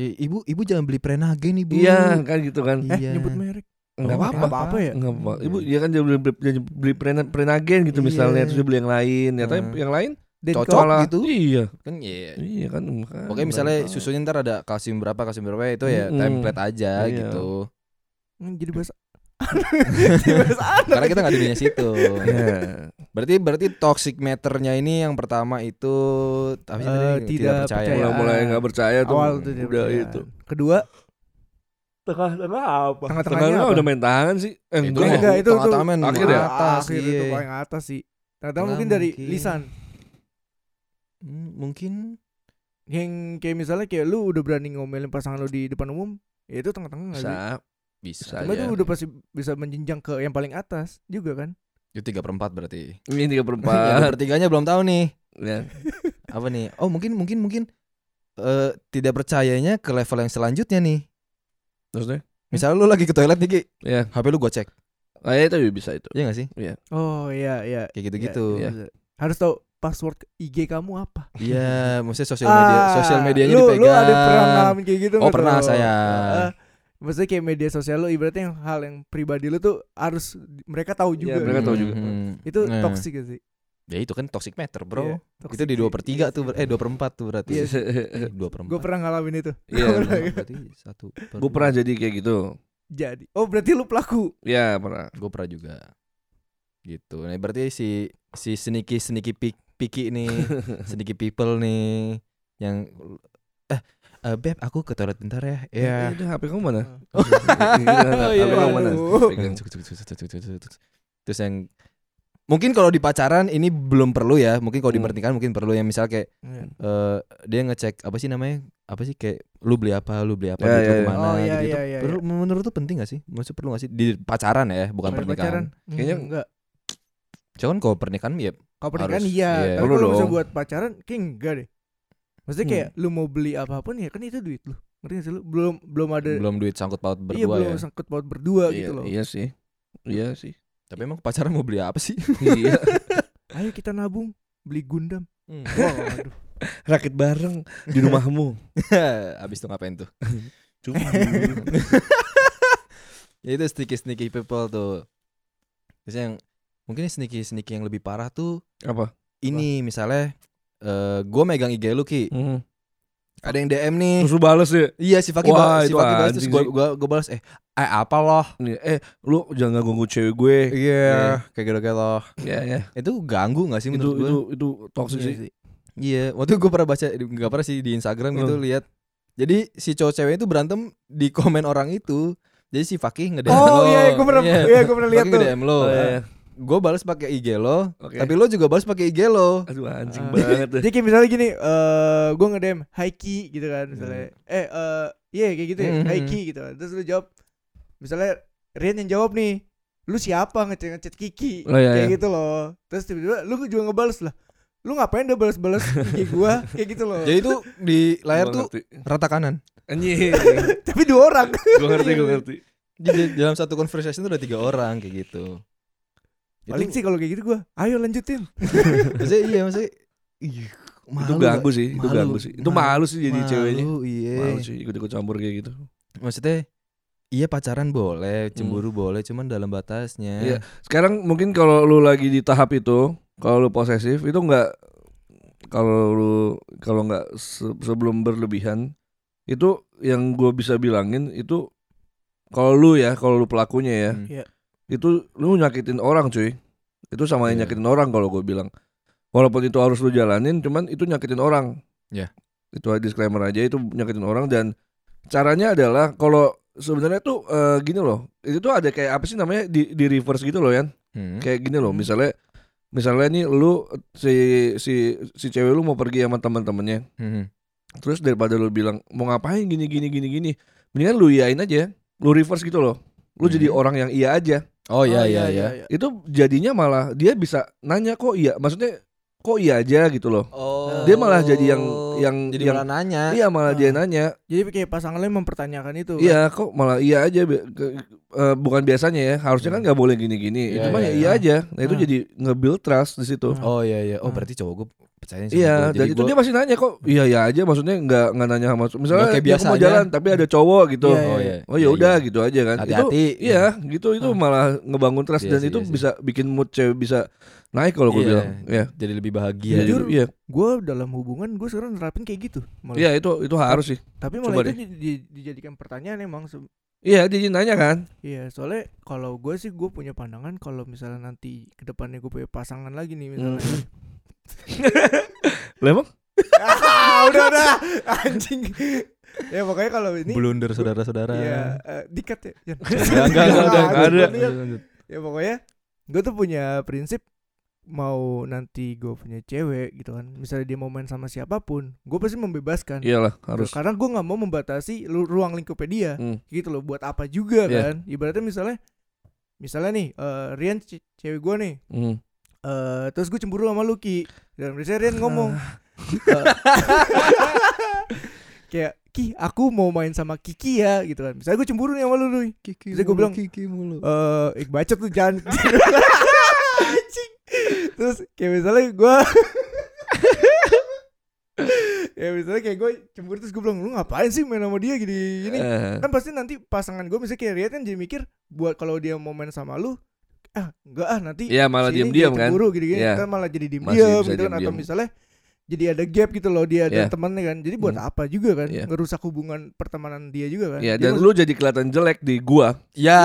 S4: I- Iya, Ibu ibu jangan beli Prenagen ibu.
S3: Iya, kan gitu kan.
S1: eh
S4: Iya.
S1: nyebut merek.
S3: Enggak
S4: Oh,
S3: apa-apa.
S1: apa-apa ya?
S3: Enggak apa. Ibu dia kan dia beli dia beli prena- prenagen gitu
S4: Iya.
S3: misalnya terus dia beli yang lain. Ternyata
S1: Nah.
S4: Hmm.
S3: yang lain
S1: Dan
S4: Cocok.
S1: kalau-
S3: malah-
S4: gitu?
S3: Iya.
S4: Kan iya.
S3: Iya kan. makanya.
S4: Pokoknya misalnya
S3: Baru tahu.
S4: susunya ntar ada kalsium berapa, kalsium berapa itu ya
S3: Mm-mm.
S4: template aja
S3: Iya.
S4: gitu.
S1: Hmm, jadi bahasa Jadi bahasa anak.
S4: Karena kita nggak di dunia situ.
S3: Iya.
S4: berarti berarti toxic matternya ini yang pertama itu apa sih
S1: Eh,
S4: tadi?
S1: tidak percaya.
S3: Mulai-mulai enggak percaya tuh.
S1: eh, Awal tuh dia
S3: udah
S1: percayaan.
S3: itu.
S1: Kedua
S3: Tengah-tengah apa?
S1: Tengah-tengahnya
S3: Tengah-tengah
S1: apa?
S3: udah main tangan sih. Eh,
S4: Itu
S3: enggak.
S1: enggak, itu-
S4: tengah
S1: itu
S4: taman,
S3: akhir ya?
S4: atas,
S1: akhir
S4: iya.
S1: itu paling atas sih. Ternyata
S4: Tengah
S1: mungkin dari
S4: mungkin.
S1: lisan.
S4: Hmm, mungkin
S1: Yang kayak misalnya kayak lu udah berani ngomelin pasangan lu di depan umum, ya itu tengah-tengah nggak sih?
S3: Bisa.
S4: bisa.
S3: Bisa
S1: Cuma
S3: aja.
S1: itu udah pasti bisa menjenjang ke yang paling atas juga kan?
S4: Itu tiga perempat berarti. Iya.
S3: Ini tiga
S4: Yang
S3: perempat.
S4: bertiganya belum tahu nih.
S3: Ya.
S4: Apa nih? Oh mungkin mungkin mungkin eh tidak percayanya ke level yang selanjutnya nih.
S1: Hmm?
S3: Terus deh.
S4: Misalnya lu lagi ke toilet nih Ki,
S3: Ya.
S4: HP lu gocek,
S3: Ah, ya, itu bisa itu.
S4: iya gak sih?
S1: Oh iya iya.
S4: Kayak gitu-gitu.
S1: Iya, iya. Harus tahu password IG kamu apa? Ah,
S4: Iya, maksudnya sosial media, sosial medianya
S1: lu,
S4: dipegang.
S1: Lu ada pernah ngalamin kayak gitu
S4: Oh,
S1: nggak
S4: pernah
S1: tuh?
S4: saya.
S1: Heeh. maksudnya kayak media sosial lu ibaratnya yang hal yang pribadi lu tuh harus mereka tahu
S3: Iya,
S1: juga.
S3: mereka tahu juga.
S4: Mhm.
S1: Itu
S4: Nah.
S1: toxic gak sih?
S4: Ya itu kan toxic matter, Bro.
S1: Iya,
S4: Itu
S1: toxic
S4: di 2
S1: sih.
S4: per 3 tuh, ber- eh 2 per 4 tuh berarti.
S1: Iya.
S4: Eh, 2 per 4.
S1: Gue pernah ngalamin itu.
S3: Iya.
S4: Berarti 1 per
S3: Gue pernah jadi kayak gitu.
S1: jadi. Oh, berarti lu pelaku.
S3: Ya pernah.
S4: Gue pernah juga. Gitu. Nah, berarti si si sneaky sneaky pik, picky nih, sneaky people nih yang eh eh, beb aku ke toilet bentar ya. Iya.
S3: Eh, udah, HP kamu mana? Iya,
S4: Oh, iya.
S3: HP kamu mana?
S1: Aduh.
S3: Pegang.
S4: Cuk, cuk, cuk, cuk, cuk, cuk, cuk. Terus yang mungkin kalau di pacaran ini belum perlu ya. Mungkin kalau di
S3: Hmm.
S4: pernikahan mungkin perlu yang misal kayak eh, dia ngecek apa sih namanya? Apa sih kayak lu beli apa, lu beli
S3: Ya,
S4: apa, duit lu
S3: ya, ya.
S4: kemana
S1: Oh, iya, iya,
S4: gitu. Itu
S1: iya,
S4: perlu- Menurut tuh penting gak sih? Maksud perlu gak sih di pacaran ya, bukan
S1: Kalau
S4: pernikahan.
S1: Hmm,
S3: Kayaknya-
S1: enggak.
S4: Cuman kalau pernikahan ya
S1: Kalau pernikahan
S4: Harus,
S1: iya,
S4: iya.
S1: tapi
S3: Perlu
S1: kalau bisa
S3: dong.
S1: buat pacaran kayak enggak deh. Maksudnya
S4: Hmm.
S1: kayak lu mau beli apapun ya kan itu duit lu. Ngerti gak sih lu? Belum belum ada
S4: belum duit sangkut paut berdua
S1: iya belum
S4: ya.
S1: sangkut paut berdua
S3: Iya,
S1: gitu loh.
S3: Iya sih. Iya sih.
S4: Tapi emang pacaran mau beli apa sih?
S3: Iya.
S1: Ayo kita nabung beli Gundam.
S4: Hmm.
S1: Wah, aduh.
S3: Rakit bareng di rumahmu.
S4: Abis itu ngapain tuh?
S3: Cuma
S4: Ya itu sneaky sneaky people tuh. Terus yang mungkin sneaky sneaky yang lebih parah tuh
S3: apa?
S4: ini misalnya eh gue megang IG lu ki,
S3: Hmm.
S4: ada yang DM nih.
S3: Terus lu bales ya.
S4: Iya si Fakih
S3: Wah,
S4: balas, si
S3: itu
S4: Fakih balas terus
S3: anjing
S4: gue
S3: sih.
S4: gua, gua balas eh eh apa loh?
S3: Nih, Eh, lu jangan ganggu cewek gue.
S4: Iya, kayak gitu-gitu loh.
S3: Iya, ya.
S4: Itu ganggu gak sih
S3: Itu
S4: menurut gue?
S3: itu itu toxic sih.
S4: Iya, waktu gue pernah baca nggak pernah sih di Instagram gitu
S3: Hmm.
S4: lihat. Jadi si cowok cewek itu berantem di komen orang itu. Jadi si Fakih ngedem
S1: Oh
S4: lo.
S1: iya, gue pernah iya gue pernah lihat
S4: Fakih
S1: tuh.
S4: ngedem lo.
S3: Oh, iya.
S4: Gue balas pakai IG lo,
S3: Oke.
S4: tapi lo juga balas pakai IG lo.
S3: Aduh anjing
S1: Ah.
S3: banget deh.
S1: Jadi kayak misalnya gini, eh gue ngedem Haiki gitu kan
S3: Hmm.
S1: misalnya. Eh eh iya kayak gitu ya,
S4: Mhm.
S1: Haiki gitu. kan. Terus lu jawab misalnya Rian yang jawab nih. Lu siapa ngechat ngechat Kiki?
S3: Oh, iya,
S1: kayak
S3: iya.
S1: gitu loh. Terus tiba-tiba lu juga ngebales lah. Lu ngapain udah balas-balas IG gua kayak gitu loh.
S4: Jadi itu di
S3: Eh.
S4: layar
S3: Gua
S4: tuh
S3: ngerti.
S4: rata kanan.
S3: anjing.
S1: Tapi dua orang.
S3: Gue ngerti, gue ngerti.
S4: Di, di- dalam satu conversation tuh ada tiga orang kayak gitu.
S1: Paling
S4: itu,
S1: sih kalau kayak gitu gua, ayo lanjutin.
S4: maksudnya iya maksudnya. Ih,
S3: itu
S4: malu
S3: ganggu sih, itu
S4: Malu.
S3: ganggu sih. Itu malu sih jadi
S4: Malu,
S3: ceweknya.
S4: Iya.
S3: Malu sih ikut-ikut campur kayak gitu.
S4: maksudnya iya pacaran boleh, cemburu boleh, cuman dalam batasnya.
S3: Hmm. Iya. Sekarang mungkin kalau lu lagi di tahap itu, kalau lu posesif itu nggak kalau lu kalau nggak se- sebelum berlebihan itu yang gue bisa bilangin itu kalau lu ya kalau lu pelakunya ya
S4: Hmm.
S1: Iya.
S3: itu lu nyakitin orang cuy itu sama yang
S4: Iya.
S3: nyakitin orang kalau gue bilang walaupun itu harus lu jalanin cuman itu nyakitin orang
S4: Iya.
S3: itu disclaimer aja itu nyakitin orang dan caranya adalah kalau sebenarnya tuh eh, gini loh itu tuh ada kayak apa sih namanya di, di reverse gitu loh ya
S4: Hmm.
S3: kayak gini loh
S1: Hmm.
S3: misalnya misalnya nih lu si si si cewek lu mau pergi sama teman-temannya
S4: Hmm.
S3: terus daripada lu bilang mau ngapain gini gini gini gini mendingan lu iyain aja lu reverse gitu loh lu jadi
S4: Hmm.
S3: orang yang iya aja
S4: Oh iya iya iya.
S3: itu jadinya malah dia bisa nanya kok iya maksudnya kok iya aja gitu loh
S4: Oh.
S3: Dia malah jadi yang- yang-
S4: jadi
S3: yang-
S4: malah nanya.
S3: iya malah dia
S1: Ah.
S3: nanya
S1: Jadi kayak pasangannya mempertanyakan itu. kan.
S3: iya kok malah iya aja Bi- ke- eh, bukan biasanya ya harusnya kan nggak boleh gini-gini
S4: Hmm. Iya,
S3: cuma
S4: iya,
S3: ya iya
S1: iya.
S3: aja nah itu
S1: Ah.
S3: jadi nge-build trust di situ
S1: Ah.
S4: Oh iya iya. Oh
S1: Ah.
S4: berarti cowok gue percaya sama
S3: Iya,
S4: gua.
S3: dan itu
S4: gua-
S3: dia masih nanya kok. Iya ya aja, maksudnya nggak nggak nanya sama misalnya
S4: Nggak kayak
S3: dia mau
S4: biasanya.
S3: jalan tapi ada cowok gitu.
S1: Iya,
S4: Oh iya.
S3: Oh ya udah gitu aja kan. Itu
S4: Hati-hati.
S3: iya, gitu itu
S1: Ah.
S3: malah ngebangun trust
S4: Iya
S3: dan
S4: sih,
S3: itu
S4: iya sih.
S3: bisa bikin mood cewek bisa naik kalau gue
S4: Iya.
S3: bilang. Iya.
S4: Jadi lebih bahagia.
S3: Iya.
S1: Jujur.
S3: Iya,
S1: Gua dalam hubungan gue sekarang nerapin kayak gitu. Malah.
S3: Iya, itu itu harus sih.
S1: Tapi
S3: Coba
S1: malah
S3: deh.
S1: itu di- di- dijadikan pertanyaan emang se-
S3: Iya, jadi nanya kan.
S1: Iya, soalnya kalau gue sih gue punya pandangan kalau misalnya nanti kedepannya gue punya pasangan lagi nih
S4: Hmm.
S1: misalnya.
S3: Lah emang
S1: ah, udah udah anjing. ya pokoknya kalau ini
S4: Blunder saudara-saudara.
S3: Iya.
S1: ya eh, dikat ya. Yan.
S4: Enggak enggak enggak udah,
S1: Ah,
S4: enggak ada.
S1: dikat, Yan. Ya pokoknya gue tuh punya prinsip mau nanti gue punya cewek gitu kan. Misalnya dia mau main sama siapapun, gue pasti membebaskan.
S4: Iya,
S3: iyalah Iya harus.
S1: Karena gue nggak mau membatasi lu- ruang lingkupnya dia.
S3: Hmm.
S1: gitu loh buat apa juga
S3: Iya.
S1: kan ibaratnya misalnya misalnya nih eh, Rian ce- cewek gue nih
S3: Hmm.
S1: eh, terus gue cemburu sama Lucky dan misalnya Rian ngomong eh, kayak Ki aku mau main sama Kiki ya gitu kan misalnya gue cemburu nih sama lu Luy
S4: Kiki
S1: Terus gua
S4: mulu,
S1: bilang,
S4: Kiki mulu.
S1: eh ik bacot tuh jangan Anjing. terus kayak misalnya gue ya misalnya kayak gue cemburu terus gue bilang lu ngapain sih main sama dia gini gini
S3: Eh,
S1: kan pasti nanti pasangan gue misalnya kayak Rian kan jadi mikir buat kalau dia mau main sama lu ah enggak ah nanti
S3: Iya, malah
S1: sini
S3: diam-diam
S1: dia
S3: kan.
S1: cemburu gini gini
S3: Iya.
S1: kan malah jadi diem
S3: Masih
S1: diem
S3: bisa
S1: gitu kan atau
S3: diem-diem.
S1: misalnya jadi ada gap gitu loh dia ada
S3: Iya.
S1: temannya kan. Jadi buat
S3: Hmm.
S1: apa juga kan
S3: Iya.
S1: ngerusak hubungan pertemanan dia juga kan.
S3: Ya,
S1: Dia
S3: dan
S1: maksud-
S3: lu jadi kelihatan jelek di gua.
S4: Ya,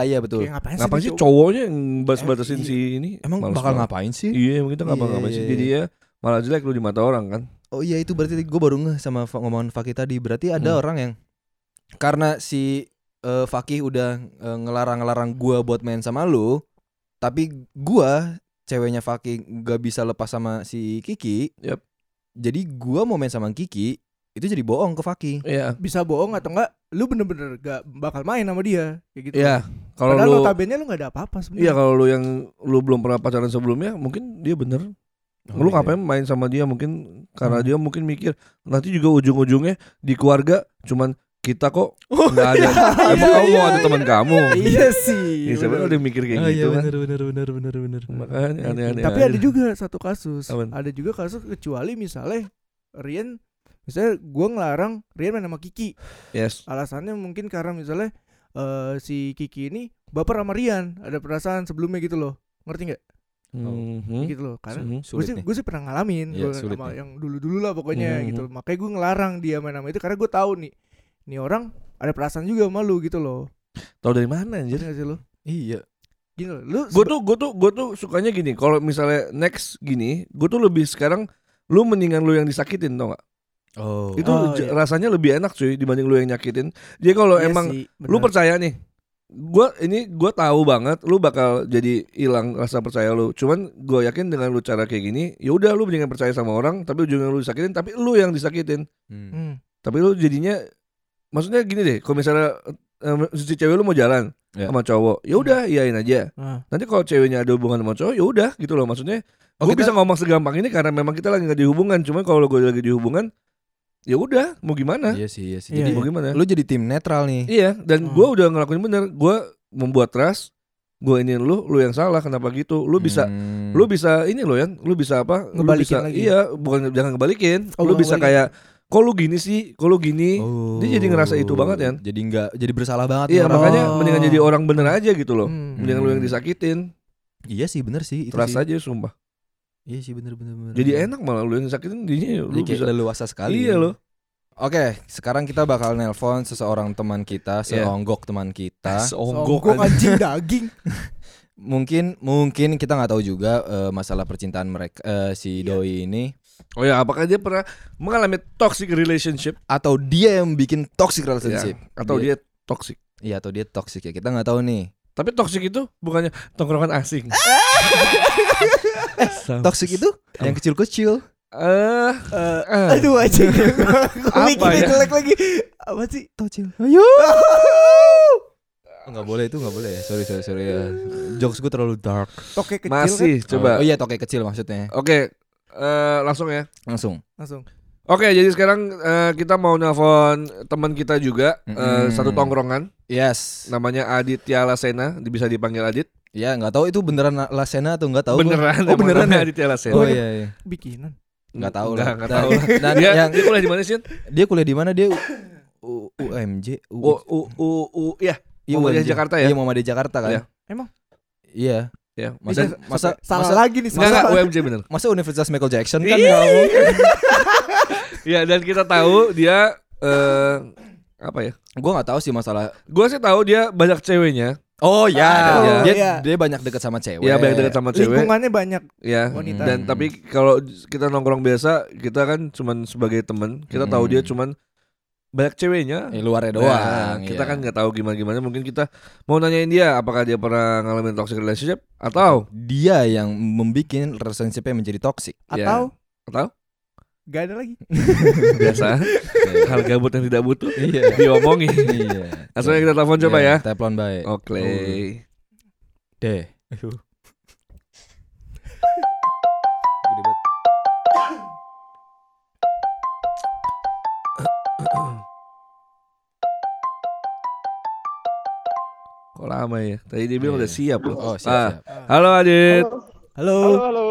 S1: Iya.
S4: iya betul.
S1: kayak ngapain,
S3: Ngapain
S1: nih
S3: sih
S1: cowok?
S3: cowoknya yang batas-batasin
S4: Eh,
S3: si ini?
S4: Emang
S3: Males
S4: bakal
S3: banget.
S4: ngapain sih?
S3: Iya, emang kita ngapa
S4: Iya,
S3: ngapain sih?
S4: iya,
S3: Jadi ya malah jelek lu di mata orang kan.
S4: Oh iya itu berarti gue baru ngeh sama fa- ngomongan Fakih tadi berarti ada
S3: Hmm.
S4: orang yang karena si eh, Fakih udah eh, ngelarang-ngelarang gua buat main sama lu, tapi gua ceweknya Fakih nggak bisa lepas sama si Kiki.
S3: Yap.
S4: Jadi gua mau main sama Kiki itu jadi bohong ke Fakih.
S3: Iya.
S1: Bisa bohong atau enggak? Lu bener-bener gak bakal main sama dia kayak gitu.
S3: Iya. Kalau
S1: Padahal
S3: lu
S1: notabene lu gak ada apa-apa sebenarnya.
S3: Iya, kalau lu yang lu belum pernah pacaran sebelumnya, mungkin dia bener
S1: Oh,
S3: lu
S1: iya.
S3: ngapain main sama dia mkin karena
S1: Hmm.
S3: dia mungkin mikir nanti juga ujung-ujungnya di keluarga cuman kita kok nggak ada emang
S1: Oh,
S3: kamu
S1: iya,
S3: mau
S1: iya,
S3: ada teman kamu
S1: Iya sih.
S3: Iya, siapa
S1: bener.
S3: tahu dia mikir kayak
S4: Oh iya
S3: gitu kan
S4: benar benar benar benar benar.
S3: makanya aneh-aneh
S1: Tapi
S3: aja.
S1: ada juga satu kasus.
S3: Apaan?
S1: Ada juga kasus kecuali misalnya Rian misalnya gua ngelarang Rian main sama Kiki.
S3: yes
S1: Alasannya mungkin karena misalnya eh, si Kiki ini baper sama Rian, ada perasaan sebelumnya gitu loh. Ngerti nggak?
S3: Mhm.
S1: Gitu loh. Karena
S3: Mhm.
S1: gue
S4: Sulit
S1: sih,
S4: nih.
S1: gue sih pernah ngalamin
S4: Iya,
S1: gua
S4: sulit
S1: sama
S4: nih.
S1: yang dulu-dulu lah pokoknya
S3: Mhm.
S1: gitu. Makanya gue ngelarang dia main sama itu karena gue tahu nih, nih orang ada perasaan juga sama lu gitu loh.
S3: tahu dari mana
S1: Jadi
S3: anjir
S1: nggak sih lo?
S4: Iya.
S1: Gini loh, lu
S3: gue tuh gue tuh gue tuh sukanya gini kalau misalnya next gini gue tuh lebih sekarang lu mendingan lu yang disakitin tau gak
S4: Oh.
S3: itu
S1: Oh,
S3: j-
S1: iya.
S3: rasanya lebih enak cuy dibanding lu yang nyakitin jadi kalau
S1: Iya
S3: emang
S1: sih,
S3: lu
S1: benar.
S3: percaya nih gue ini gue tahu banget lu bakal jadi hilang rasa percaya lu cuman gue yakin dengan lu cara kayak gini ya udah lu jangan percaya sama orang tapi ujungnya lu disakitin tapi lu yang disakitin
S4: Hmm.
S1: Hmm.
S3: tapi lu jadinya maksudnya gini deh kalau misalnya eh, si cewek lu mau jalan
S1: Iya.
S4: Ya.
S3: sama cowok ya udah iyain aja
S1: Ah.
S3: nanti kalau ceweknya ada hubungan sama cowok ya udah gitu loh maksudnya
S4: Oh,
S3: gue
S4: kita-
S3: bisa ngomong segampang ini karena memang kita lagi gak di hubungan cuman kalau gue lagi di hubungan ya udah mau gimana
S4: Iya sih, iya sih.
S1: Iya,
S4: Jadi
S3: mau gimana
S4: lu jadi tim netral nih.
S3: Iya, dan
S1: Hmm.
S3: gua udah ngelakuin bener. Gua membuat trust. Gua ini lu, lu yang salah. Kenapa gitu? Lu bisa,
S4: Hmm.
S3: lu bisa ini loh ya. Lu bisa apa?
S1: Ngebalikin
S3: lu bisa,
S1: lagi. ya?
S3: Iya, bukan jangan ngebalikin.
S1: Oh,
S3: lu
S1: bukan
S3: bisa kayak, kok lu gini sih? Kok lu gini?
S4: Oh.
S3: Dia jadi ngerasa itu banget, Yan.
S4: Jadi nggak jadi bersalah banget nih
S3: Iya,
S4: orang.
S3: makanya
S1: Oh.
S3: mendingan jadi orang bener aja gitu loh.
S1: Hmm.
S3: Mendingan lu yang
S4: Hmm.
S3: disakitin.
S4: Iya sih bener sih itu
S3: Trust
S4: sih.
S3: aja sumpah.
S4: Iya sih bener bener. bener.
S3: Jadi enak malah lu yang disakitin jadinya
S4: Jadi
S3: lu
S4: kayak
S3: bisa.
S4: leluasa sekali.
S3: Iya lo.
S4: Oke, sekarang kita bakal nelpon seseorang teman kita,
S3: Iya. Eh,
S4: seonggok teman
S3: Ah,
S4: kita.
S1: Songgok anjing daging.
S4: Mungkin mungkin kita nggak tahu juga eh, masalah percintaan mereka eh, si
S3: Iya.
S4: doi ini
S3: Oh ya, apakah dia pernah mengalami toxic relationship
S4: atau dia yang bikin toxic
S3: ya,
S4: relationship.
S3: atau dia toxic?
S4: Iya, atau dia toxic ya. Kita nggak tahu nih.
S3: Tapi toxic itu bukannya tongkrongan asing.
S4: Ah!
S3: Sama.
S4: Toxic itu yang kecil-kecil.
S3: Eh,
S1: Eh,
S3: eh.
S1: aduh anjing.
S3: Apa
S1: Gua mikirnya
S3: ya?
S1: jelek lagi. Apa sih?
S4: Tocil. Ayo. Enggak boleh itu enggak boleh. ya. Sorry sorry sorry ya. Jokes gue terlalu dark.
S1: Toke kecil kan,
S3: masih coba.
S4: Oh iya toke kecil maksudnya.
S3: Oke, eh, langsung ya.
S4: Langsung.
S1: kan? Langsung.
S3: Oke, jadi sekarang eh, kita mau nelpon teman kita juga eh,
S4: Mm-mm.
S3: satu tongkrongan,
S4: Yes.
S3: namanya Aditya Lasena, bisa dipanggil Adit.
S4: Ya nggak tahu itu beneran Lasena atau nggak tahu. gua.
S3: beneran,
S4: Oh
S3: emang
S4: beneran.
S3: namanya
S4: ya?
S3: Aditya Lasena.
S4: Oh iya iya.
S1: Bikinan.
S4: Nggak tahu
S3: Nggak,
S4: lah.
S3: nggak
S4: Dan-
S3: tahu.
S4: Dan
S3: Nah, dia,
S4: yang
S3: dia kuliah di mana sih?
S4: dia kuliah di mana dia U- U- UMJ.
S3: U, U, U, U, ya,
S4: iya,
S3: Oh, Muhammadiyah
S4: UMJ.
S3: Jakarta ya?
S4: Iya Muhammadiyah Jakarta kan.
S3: Iya.
S1: Emang?
S4: Iya.
S3: ya.
S4: Masa
S1: Bisa-
S4: masa
S1: Salah
S4: masa,
S1: lagi nih
S3: Enggak, enggak,
S1: salah.
S3: UMJ bener.
S4: masa Universitas Michael Jackson kan
S3: Iya.
S4: nggak mungkin.
S3: Iya, dan kita tahu dia eh apa ya?
S4: Gue nggak tahu sih masalah
S3: Gua sih tahu dia banyak ceweknya.
S4: Oh ya,
S3: Oh,
S4: dia,
S1: iya.
S4: dia banyak dekat sama cewek.
S3: Iya, banyak dekat sama cewek.
S1: Lingkungannya banyak.
S3: Ya,
S1: Wanita.
S3: dan
S4: Hmm.
S3: tapi kalau kita nongkrong biasa, kita kan cuman sebagai teman, kita tahu
S4: Hmm.
S3: dia cuman banyak ceweknya.
S4: Eh, luarnya doang.
S3: Nah, kita
S4: iya.
S3: kan nggak tahu gimana gimana. Mungkin kita mau nanyain dia apakah dia pernah ngalamin toxic relationship atau
S4: dia yang membuat relationship-nya menjadi toksik.
S3: Ya.
S1: Atau
S3: atau
S1: Gak ada lagi.
S3: biasa hal gabut yang tidak butuh
S4: Iya.
S3: diomongin.
S4: Iya.
S3: Langsung aja kita telepon coba
S4: Iya, oh,
S3: ya.
S4: Telepon baik.
S3: Oke.
S4: Deh.
S3: Kok lama ya? Tadi dia bilang
S4: Iya.
S3: udah siap loh.
S4: Oh,
S3: Ah.
S4: siap, siap.
S3: Halo Adit.
S2: Halo, halo,
S1: Halo.
S2: halo.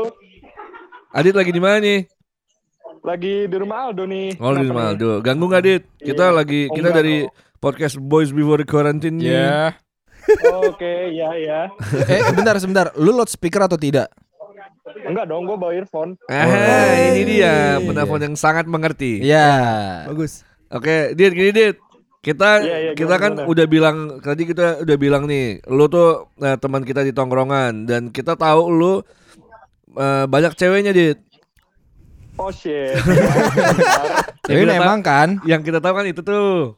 S3: Adit lagi di mana nih?
S2: Lagi di rumah Aldo nih.
S3: Oh, di
S2: Kenapa nih?
S3: Ronaldo. Ganggu nggak Adit? Kita
S2: Iya.
S3: lagi
S2: Oh,
S3: kita
S2: enggak
S3: dari podcast Boys Before Quarantine nih.
S4: Iya.
S2: Oke, ya ya.
S4: eh, bentar sebentar. Lu loudspeaker atau tidak?
S2: Enggak dong, gue bawa earphone.
S3: Ah,
S4: Oh,
S3: ini dia
S4: Hey.
S3: penelpon yang sangat mengerti.
S4: Iya.
S1: Bagus.
S3: Oke, Dit, gini Dit. Kita
S2: Iya, iya,
S3: kita
S2: gimana,
S3: kan
S2: gimana?
S3: udah bilang tadi kita udah bilang nih, lu tuh eh, teman kita di tongkrongan dan kita tahu lu eh, banyak ceweknya, Dit.
S2: Oh shit.
S4: Tapi
S3: kita
S4: memang kan.
S3: tahu- yang kita tahu kan itu tuh.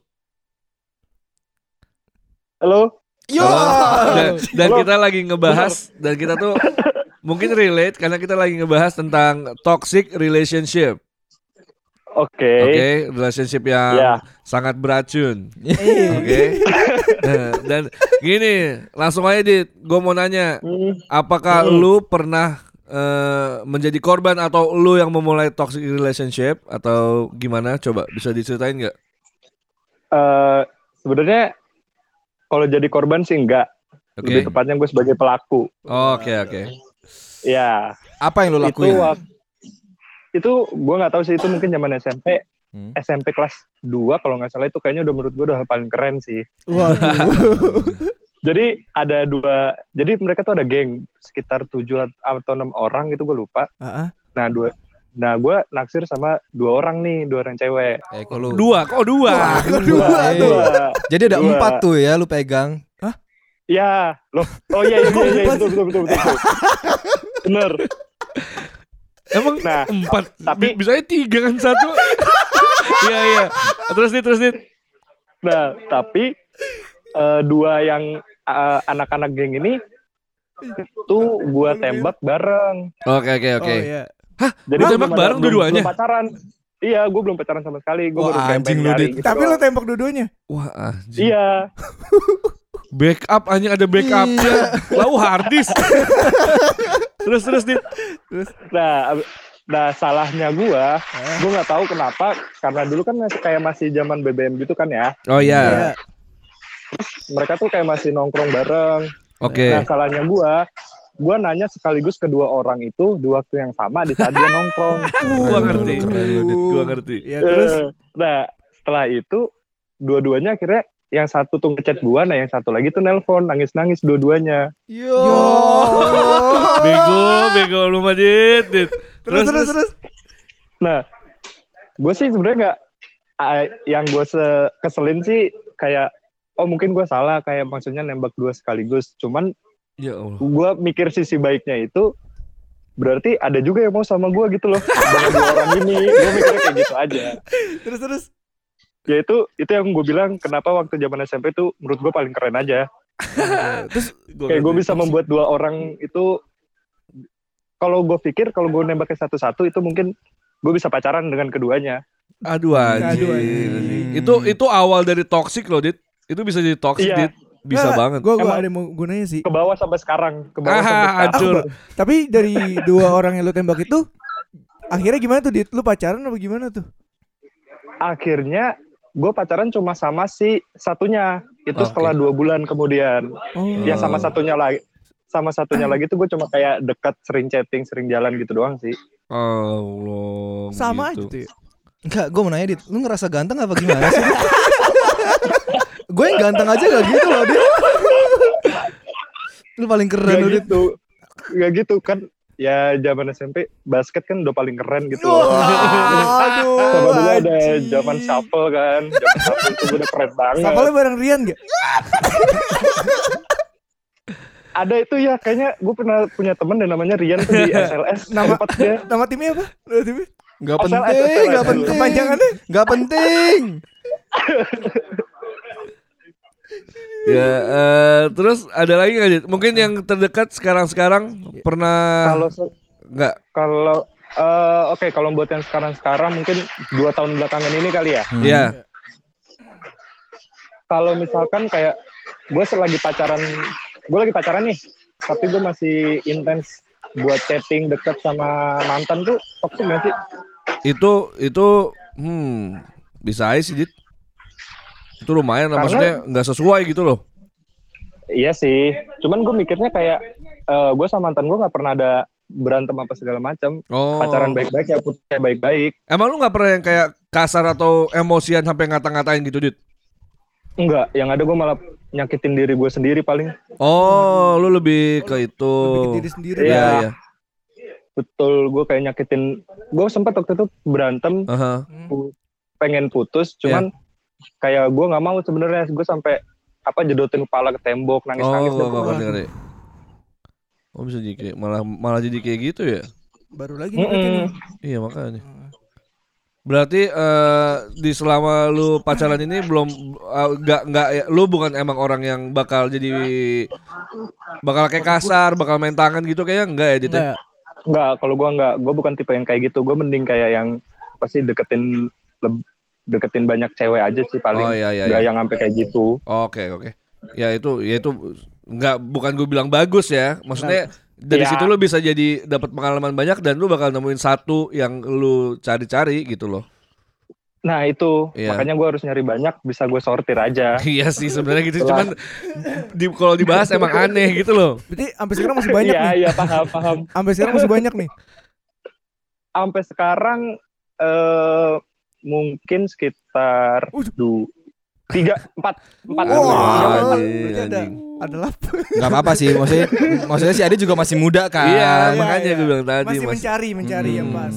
S2: Halo?
S4: Yo.
S3: Dan, dan
S2: Halo.
S3: kita lagi ngebahas dan kita tuh mungkin relate karena kita lagi ngebahas tentang toxic relationship. Oke,
S2: Oke.
S3: relationship yang
S2: Ya.
S3: sangat beracun.
S1: Eh,
S3: Oke. Nah, dan gini, langsung aja dit, gue mau nanya,
S2: Hmm,
S3: apakah
S2: Hmm.
S3: lu pernah eh, menjadi korban atau lu yang memulai toxic relationship atau gimana? Coba bisa diceritain nggak?
S2: eh, Sebenarnya kalau jadi korban sih enggak.
S3: Oke.
S2: Lebih tepatnya gue sebagai pelaku.
S3: Oke, oke.
S2: Ya.
S4: Apa yang lu
S2: Itu
S4: lakuin?
S2: wak- itu gue nggak tahu sih itu mungkin zaman SMP
S4: Hmm.
S2: SMP kelas 2 kalau nggak salah itu kayaknya udah menurut gue udah paling keren sih
S1: Waduh.
S2: jadi ada dua jadi mereka tuh ada geng sekitar 7 atau enam orang gitu gue lupa
S1: Ah, ah.
S2: Nah dua, nah gue naksir sama dua orang nih, dua orang cewek.
S4: Eh, kok lu-
S3: Dua, kok dua?
S1: Kedua
S4: eh.
S1: tuh.
S4: Jadi ada
S2: Dua.
S4: empat tuh ya lu pegang.
S2: Ya, loh, oh iya iya iya, iya, betul betul betul betul. betul. Bener.
S3: Emang
S2: Nah,
S3: empat,
S2: tapi-
S3: tapi bisa tiga kan satu? Iya iya. Terus dit, terus dit.
S2: Nah tapi eh, dua yang eh, anak-anak geng ini itu gue tembak bareng.
S3: Oke oke oke.
S1: Oh iya.
S2: Jadi
S3: Lu
S2: belum
S3: tembak
S2: ada-
S3: bareng
S2: belum-
S3: dua-duanya?
S2: belum pacaran. Iya, gue belum pacaran sama sekali. Gue
S4: Wah,
S2: baru kayak
S4: anjing
S2: pengen
S4: lu,
S2: nyari
S4: Dit.
S2: gitu
S1: Tapi lo
S2: doang.
S1: tembak dua-duanya.
S3: Wah anjing.
S2: Iya,
S3: Backup anjing ada backupnya. Lau hardis. terus terus dit.
S2: nah, ab- nah salahnya gue, gue nggak tahu kenapa. Karena dulu kan masih- kayak masih zaman BBM gitu kan ya.
S3: Oh iya.
S1: Iya.
S2: mereka tuh kayak masih nongkrong bareng. Nah,
S3: Oke.
S2: salahnya gua, gua nanya sekaligus kedua orang itu di waktu yang sama di saat dia nongkrong.
S3: Gua ngerti.
S4: Keren lu, Dit.
S3: Gua ngerti.
S1: Ya terus
S2: Eh, nah, setelah itu dua-duanya akhirnya yang satu tuh ngechat gua, nah yang satu lagi tuh nelpon nangis-nangis dua-duanya.
S4: Yo.
S3: Bego, bego lu mah dit. dit.
S1: terus terus terus.
S2: Nah, gue sih sebenarnya nggak ah, yang gue keselin sih kayak oh mungkin gua salah kayak maksudnya nembak dua sekaligus. Cuman
S3: Ya Allah.
S2: gua mikir sisi baiknya itu berarti ada juga yang mau sama gua gitu loh dengan dua orang ini gue mikirnya kayak gitu aja
S1: Terus terus.
S2: ya itu itu yang gue bilang kenapa waktu zaman SMP itu menurut gue paling keren aja
S3: Terus
S2: kayak gue bisa membuat dua orang itu kalau gue pikir kalau gue nembaknya satu-satu itu mungkin gue bisa pacaran dengan keduanya
S3: Aduh anjing.
S1: Aduh,
S4: Iya.
S1: anjing.
S3: Itu itu awal dari toxic loh dit. Itu bisa jadi toxic
S2: Iya.
S3: dit. Bisa
S1: Nggak,
S3: banget.
S1: Nah, Gua gua
S2: Emang-
S1: ada yang mau gunanya sih.
S2: ke bawah sampai sekarang ke bawah sampai
S3: Ah,
S2: sekarang
S3: hancur.
S1: Tapi dari dua orang yang lo tembak itu akhirnya gimana tuh Dit? Lu pacaran apa gimana tuh?
S3: Oh,
S2: akhirnya gue pacaran cuma sama si satunya itu
S3: Oke.
S2: setelah dua bulan kemudian
S1: Oh.
S2: ya sama satunya lagi sama satunya lagi tuh gue cuma kayak dekat sering chatting sering jalan gitu doang sih
S3: Allah.
S1: Sama aja
S3: gitu.
S1: tuh. ya?
S4: Enggak, gue mau nanya Dit, lu ngerasa ganteng apa gimana sih? gue yang ganteng aja gak gitu loh Dit Lu paling keren
S2: gak
S4: lu Dit
S2: gitu gak gitu kan ya zaman SMP basket kan udah paling keren gitu
S1: Wah,
S2: loh
S1: Aduh.
S2: sama dulu ada
S1: anjing.
S2: zaman shuffle kan zaman shuffle tuh udah keren banget
S1: Siapa lo bareng Rian gak?
S2: ada itu ya kayaknya gue pernah punya temen dan namanya Rian tuh di SLS
S1: Nama-
S2: tempat dia
S1: Nama timnya apa? Nama
S2: Eh.
S1: timnya?
S4: Gak penting,
S2: Asal- asal-
S4: gak
S2: asal-
S4: penting
S1: Kepanjangannya?
S4: Gak penting
S3: Ya, eh, terus ada lagi nggak Dit? Mungkin yang terdekat sekarang-sekarang pernah
S2: kalau se-
S3: nggak?
S2: kalau eh, oke kalau buat yang sekarang sekarang mungkin dua tahun belakangan ini kali ya
S4: Hmm.
S3: Ya.
S2: kalau misalkan kayak gue selagi pacaran gue lagi pacaran nih tapi gue masih intens buat chatting deket sama mantan tuh toxic gak sih
S3: Itu itu hmm bisa aja sih Dit. Itu lumayan lah
S2: Karena-
S3: maksudnya nggak sesuai gitu loh.
S2: iya sih cuman gue mikirnya kayak gue sama mantan gue nggak pernah ada berantem apa segala macam
S3: Oh.
S2: pacaran baik-baik ya putus ya baik-baik
S3: Emang lu nggak pernah yang kayak kasar atau emosian sampai ngata-ngatain gitu, Dit?
S2: enggak yang ada gue malah nyakitin diri gue sendiri paling
S3: Oh, lu lebih ke itu.
S1: Bikin diri sendiri.
S2: Iya.
S3: Iya, iya.
S2: betul gue kayak nyakitin gue sempat waktu itu berantem
S3: Aha.
S2: pengen putus cuman
S3: Iya.
S2: kayak gue nggak mau sebenarnya gue sampai apa jedotin kepala ke tembok nangis
S3: Oh,
S2: nangis
S3: gua gak ngerti ngerti. Oh bisa jadi kayak malah malah jadi kayak gitu ya?
S1: Baru lagi
S2: Mm-mm.
S1: deketin lu.
S3: Iya makanya. Berarti eh, di selama lu pacaran ini belum eh, nggak nggak ya, lu bukan emang orang yang bakal jadi bakal kayak kasar, bakal main tangan gitu kayaknya enggak ya Dit? ya?
S1: Enggak.
S2: nggak kalau gue nggak gue bukan tipe yang kayak gitu gue mending kayak yang pasti deketin leb- deketin banyak cewek aja sih paling
S3: Oh
S2: nggak
S3: iya iya. iya.
S2: yang sampai kayak gitu
S3: Oke oke. Ya itu ya itu nggak bukan gue bilang bagus ya. Maksudnya dari
S2: Ya.
S3: situ lu bisa jadi dapat pengalaman banyak dan lu bakal nemuin satu yang lu cari-cari gitu loh.
S2: nah itu
S3: Iya.
S2: makanya gue harus nyari banyak bisa gue sortir aja
S3: Iya sih sebenarnya gitu
S2: Lah.
S3: cuman di kalau dibahas emang aneh gitu loh.
S1: Berarti sampai sekarang masih banyak
S2: iya
S1: nih.
S2: iya paham paham
S1: Sampai sekarang masih banyak nih.
S2: sampai sekarang eh mungkin sekitar
S1: Udah.
S2: du tiga empat empat
S1: Wah,
S2: Tiga,
S3: Wow.
S2: empat.
S3: anjing,
S1: berarti ada
S3: anjing.
S1: ada lap.
S4: Gak apa-apa sih Maksudnya Maksudnya si Ade juga masih muda kan
S3: Iya,
S1: iya,
S3: makanya
S1: iya.
S3: gue bilang tadi
S1: Masih
S3: mas.
S1: mencari, mencari yang
S4: Hmm.
S1: pas.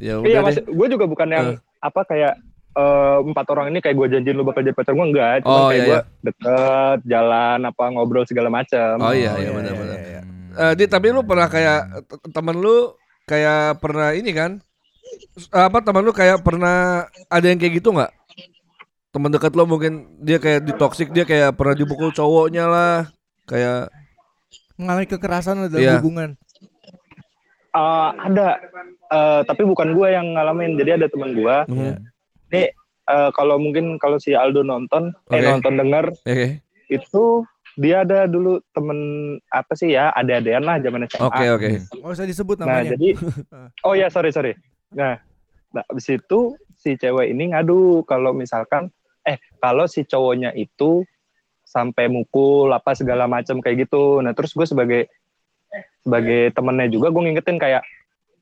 S3: Ya udah
S2: iya mas
S3: deh.
S2: gue juga bukan yang apa kayak eh, empat orang ini kayak gue janjiin lu bakal jadi pacar gue enggak cuma
S3: Oh,
S2: kayak
S3: iya,
S2: gue deket jalan apa ngobrol segala macam
S3: Oh iya
S1: Oh,
S3: iya
S1: iya,
S3: benar benar.
S1: iya, iya.
S3: Eh, Dit, tapi lu pernah kayak te- temen lu kayak pernah ini kan S- apa temen lu kayak pernah ada yang kayak gitu nggak? Teman dekat lu mungkin dia kayak ditoksik, dia kayak pernah dipukul cowoknya lah. Kayak
S1: Mengalami kekerasan dalam
S3: Iya.
S1: hubungan.
S2: Eh, ada Eh, tapi bukan gue yang ngalamin jadi ada teman gue
S3: Mhm.
S2: Eh, kalau mungkin kalau si Aldo nonton eh
S3: Oke.
S2: nonton denger
S3: oke.
S2: itu dia ada dulu temen apa sih ya ada-adaan lah zaman SMA
S1: Ah,
S3: Oke oke.
S1: Enggak usah disebut
S2: Nah,
S1: namanya.
S2: jadi oh ya sorry sorry. Nah, nah abis itu si cewek ini ngadu kalau misalkan eh kalau si cowoknya itu sampai mukul apa segala macam kayak gitu. Nah, terus gue sebagai sebagai temennya juga gue ngingetin kayak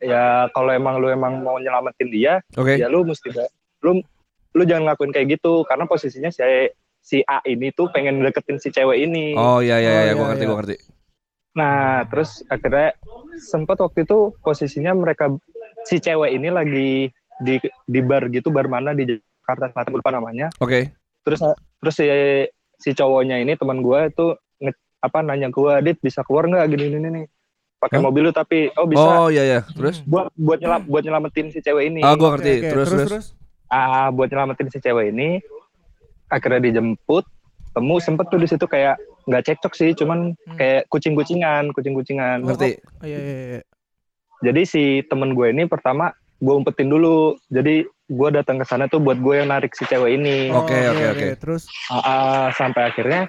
S2: ya kalau emang lu emang mau nyelamatin dia,
S4: Eh.
S3: Oke.
S2: ya lu mesti ba- lu lu jangan ngelakuin kayak gitu karena posisinya si si A ini tuh pengen deketin si cewek ini.
S3: Oh iya iya
S1: Oh,
S3: iya
S1: iya,
S3: gua ngerti
S1: iya.
S3: gua ngerti.
S2: Nah, terus akhirnya sempat waktu itu posisinya mereka si cewek ini lagi di di bar gitu, bar mana di Jakarta Selatan lupa namanya.
S3: Oke.
S2: Terus
S3: Nah.
S2: terus si si cowoknya ini teman gua itu nge- apa nanya gua, "Dit, bisa keluar nggak gini gini nih?" Pakai
S3: Hah?
S2: mobil lu tapi oh bisa
S3: Oh iya iya. Terus?
S2: buat buat nyelam buat nyelamatin si cewek ini.
S3: Ah gua
S1: Oke,
S3: ngerti.
S1: oke,
S3: terus, terus
S2: Ah, buat nyelamatin si cewek ini akhirnya dijemput temu sempet tuh di situ kayak nggak cekcok sih cuman kayak kucing-kucingan kucing-kucingan
S3: Hmm. Ngerti.
S1: Oh, iya, iya, iya.
S2: jadi si temen gue ini pertama gue umpetin dulu jadi gue datang ke sana tuh buat gue yang narik si cewek ini
S3: Oke,
S1: Oh,
S3: oke,
S1: iya,
S3: oke.
S1: iya. Terus
S2: Ah, ah, sampai akhirnya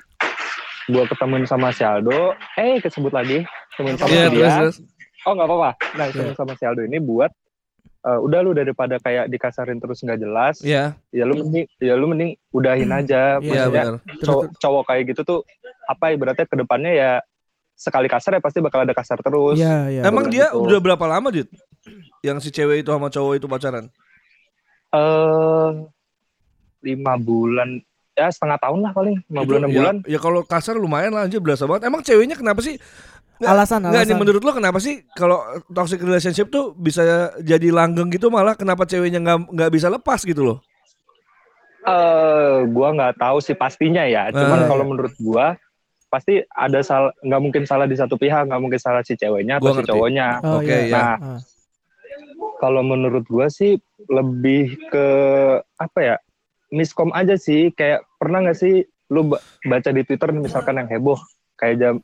S2: gue ketemuin sama si Aldo eh kesebut lagi ketemuin sama
S3: Iya,
S2: dia
S3: terus Iya. terus.
S2: oh nggak apa-apa nah ketemu sama si Aldo ini buat eh, udah lu daripada kayak dikasarin terus nggak jelas
S3: Iya,
S2: ya lu mending ya lu mending udahin
S1: Iya,
S2: aja
S3: iya
S2: Maksudnya,
S3: benar.
S2: cowok, cowok kayak gitu tuh apa ibaratnya kedepannya ya sekali kasar ya pasti bakal ada kasar terus
S1: Iya, iya.
S3: Emang dia
S2: Bener gitu.
S3: udah berapa lama, Dit? Yang si cewek itu sama cowok itu pacaran?
S2: eh lima bulan ya setengah tahun lah paling lima bulan enam
S3: Ya-
S2: bulan
S3: Ya kalau kasar lumayan lah anjir berasa banget. Emang ceweknya kenapa sih? Nggak-
S1: alasan
S3: Enggak
S1: alasan.
S3: nih menurut lo kenapa sih kalau toxic relationship tuh bisa jadi langgeng gitu malah kenapa ceweknya nggak nggak bisa lepas gitu loh?
S2: eh gua nggak tahu sih pastinya
S3: Ah.
S2: ya cuman kalau menurut gua pasti ada salah nggak mungkin salah di satu pihak nggak mungkin salah si ceweknya
S3: Gua
S2: atau si
S3: ngerti.
S2: cowoknya
S1: Oh,
S3: Oke,
S1: iya.
S3: iya.
S2: nah
S1: Ah.
S2: kalau menurut gua sih lebih ke apa ya miskom aja sih kayak pernah nggak sih lu ba- baca di twitter misalkan yang heboh kayak jam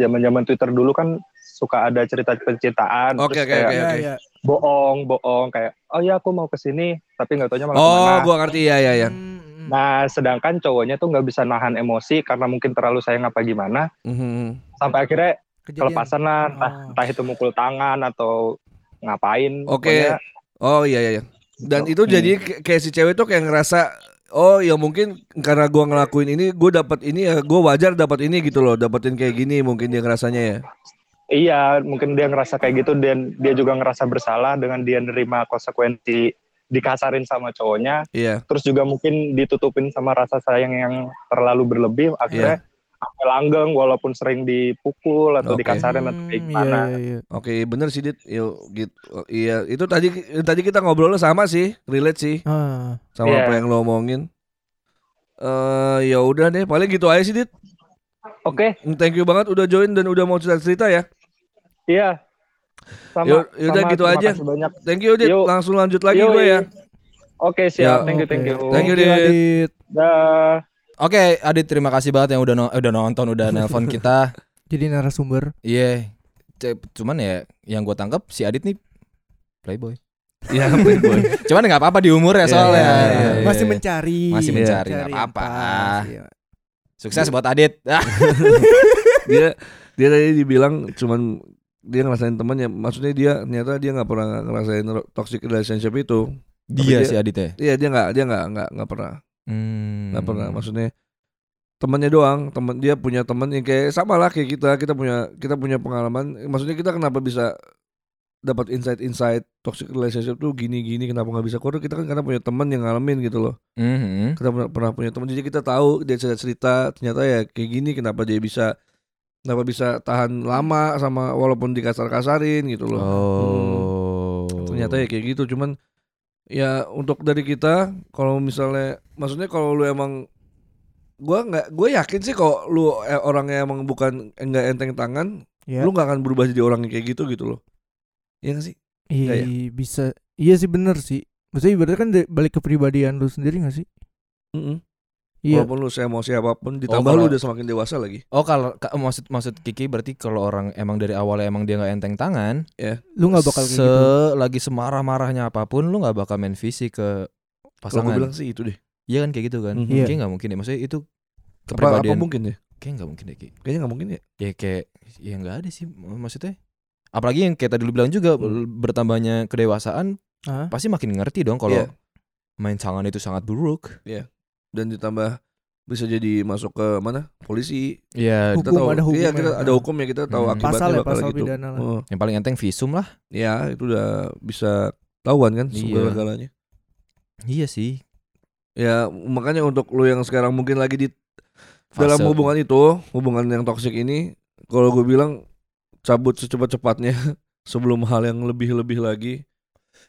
S2: zaman zaman twitter dulu kan suka ada cerita percintaan
S3: Oke, oke,
S2: terus kayak
S3: oke.
S1: Iya, iya.
S2: bohong bohong kayak oh ya aku mau ke sini tapi nggak taunya malah
S3: Oh,
S2: kemana.
S3: gua ngerti ya ya ya.
S1: Hmm, hmm.
S2: nah sedangkan cowoknya tuh nggak bisa nahan emosi karena mungkin terlalu sayang apa gimana
S3: Mhm.
S2: sampai akhirnya
S1: Kejadian.
S2: kelepasan lah entah,
S1: Oh.
S2: entah itu mukul tangan atau ngapain
S3: Oke.
S2: pokoknya.
S3: Oh iya iya. iya. Dan itu
S2: Hmm.
S3: jadi k- kayak si cewek tuh kayak ngerasa oh ya mungkin karena gua ngelakuin ini gue dapat ini ya gue wajar dapat ini gitu loh dapetin kayak gini mungkin dia ngerasanya ya.
S2: Iya, mungkin dia ngerasa kayak gitu dan dia juga ngerasa bersalah dengan dia nerima konsekuensi dikasarin sama cowoknya,
S3: Iya.
S2: terus juga mungkin ditutupin sama rasa sayang yang terlalu berlebih akhirnya sampai langgeng walaupun sering dipukul
S3: Iya. Oke.
S2: atau
S3: Hmm,
S2: dikasarin atau kayak gimana.
S1: Iya, iya, iya.
S3: Oke bener sih dit Yo, gitu. Oh, Iya itu tadi tadi kita ngobrolnya sama sih Relate sih
S1: Ah,
S3: Sama
S2: Iya.
S3: apa yang lo omongin Eh ya udah deh paling gitu aja sih dit
S2: Oke,
S3: Thank you banget udah join dan udah mau cerita-cerita ya
S2: iya.
S3: Yaudah, yaudah gitu
S2: terima
S3: aja.
S2: kasih Banyak.
S3: Thank you dit
S2: Yuk.
S3: Langsung lanjut lagi
S2: Yoi.
S3: gue ya Ya,
S2: Oke, siap. thank you, thank
S1: oke.
S2: you.
S3: Thank you, Dit.
S1: Adit.
S2: Dah.
S4: Oke, Adit terima kasih banget yang udah no- udah nonton, udah nelpon kita.
S1: Jadi narasumber.
S4: Iya. C- Cuman ya yang gua tangkap si Adit nih playboy.
S3: Ya Playboy
S4: Cuman nggak apa-apa di umur ya
S3: Iya,
S4: soalnya.
S3: iya, iya,
S4: Iya, iya,
S1: Ah, Masih
S4: iya.
S1: mencari.
S4: Masih mencari,
S1: Mencari
S4: nggak apa-apa.
S1: pas, iya.
S4: Sukses buat Adit. Ah,
S3: Dia dia tadi dibilang cuman dia ngerasain temannya Maksudnya dia ternyata dia nggak pernah ngerasain ro- toxic relationship itu dia-
S4: dia si Adit ya.
S3: Iya dia nggak dia nggak nggak nggak pernah
S4: Hmm.
S3: nggak pernah maksudnya temannya doang teman dia punya teman yang kayak sama lah kayak kita kita punya kita punya pengalaman maksudnya kita kenapa bisa dapat insight-insight toxic relationship tuh gini-gini kenapa nggak bisa keluar kita kan karena punya teman yang ngalamin gitu loh
S4: Mhm.
S3: kita pernah, pernah punya teman jadi kita tahu dia cerita cerita ternyata ya kayak gini kenapa dia bisa kenapa bisa tahan lama sama walaupun dikasar-kasarin gitu loh
S4: Oh.
S3: ternyata ya kayak gitu cuman ya untuk dari kita kalau misalnya maksudnya kalau lu emang gua nggak gue yakin sih kalau lu eh, orangnya emang bukan eh, nggak enteng tangan
S1: Iya.
S3: lu nggak akan berubah jadi orang yang kayak gitu gitu loh Iya nggak sih
S1: Iya,
S3: Nggak ya?
S1: bisa. Iya sih bener sih. Maksudnya ibaratnya kan de- balik ke kepribadian lu sendiri gak sih? Iya.
S3: walaupun lu emosi apapun ditambah lu
S4: kalau-
S3: udah semakin dewasa lagi
S4: Oh kalau ka- maksud maksud Kiki berarti kalau orang emang dari awalnya emang dia nggak enteng tangan,
S1: Lu nggak bakal kayak
S4: se
S1: gitu.
S4: lagi semarah-marahnya apapun lu nggak bakal main fisik ke
S3: kalau gue bilang
S4: pasangan.
S3: sih itu deh
S4: Iya kan kayak gitu kan.
S3: Mhm.
S1: Iya.
S4: Kayak nggak mungkin ya. Maksudnya itu
S3: apa, apa
S4: kepribadian
S3: mungkin ya
S4: kayak nggak mungkin deh Ki.
S3: kayaknya nggak mungkin ya
S4: Ya kayak ya nggak ada sih maksudnya. Apalagi yang kayak tadi lu bilang
S3: Hmm.
S4: juga bertambahnya kedewasaan
S1: Hah?
S4: pasti makin ngerti dong kalau
S3: Iya.
S4: main tangan itu sangat buruk.
S3: dan ditambah bisa jadi masuk ke mana polisi
S4: Iya.
S1: Hukum,
S3: tahu
S1: ada
S3: iya
S1: hukumnya.
S3: kita ada hukum ya kita tahu
S4: Hmm.
S3: akibatnya
S1: Pasal ya,
S3: bakal
S1: pasal
S3: gitu.
S1: pidana lah.
S3: Heeh.
S4: Yang paling enteng visum lah.
S3: Ya itu udah bisa tahuan kan
S4: Iya.
S3: segala-galanya.
S4: Iya sih.
S3: Ya makanya untuk lu yang sekarang mungkin lagi di
S4: Fase.
S3: dalam hubungan itu, hubungan yang toksik ini, kalau gue bilang cabut secepat-cepatnya sebelum hal yang lebih-lebih lagi.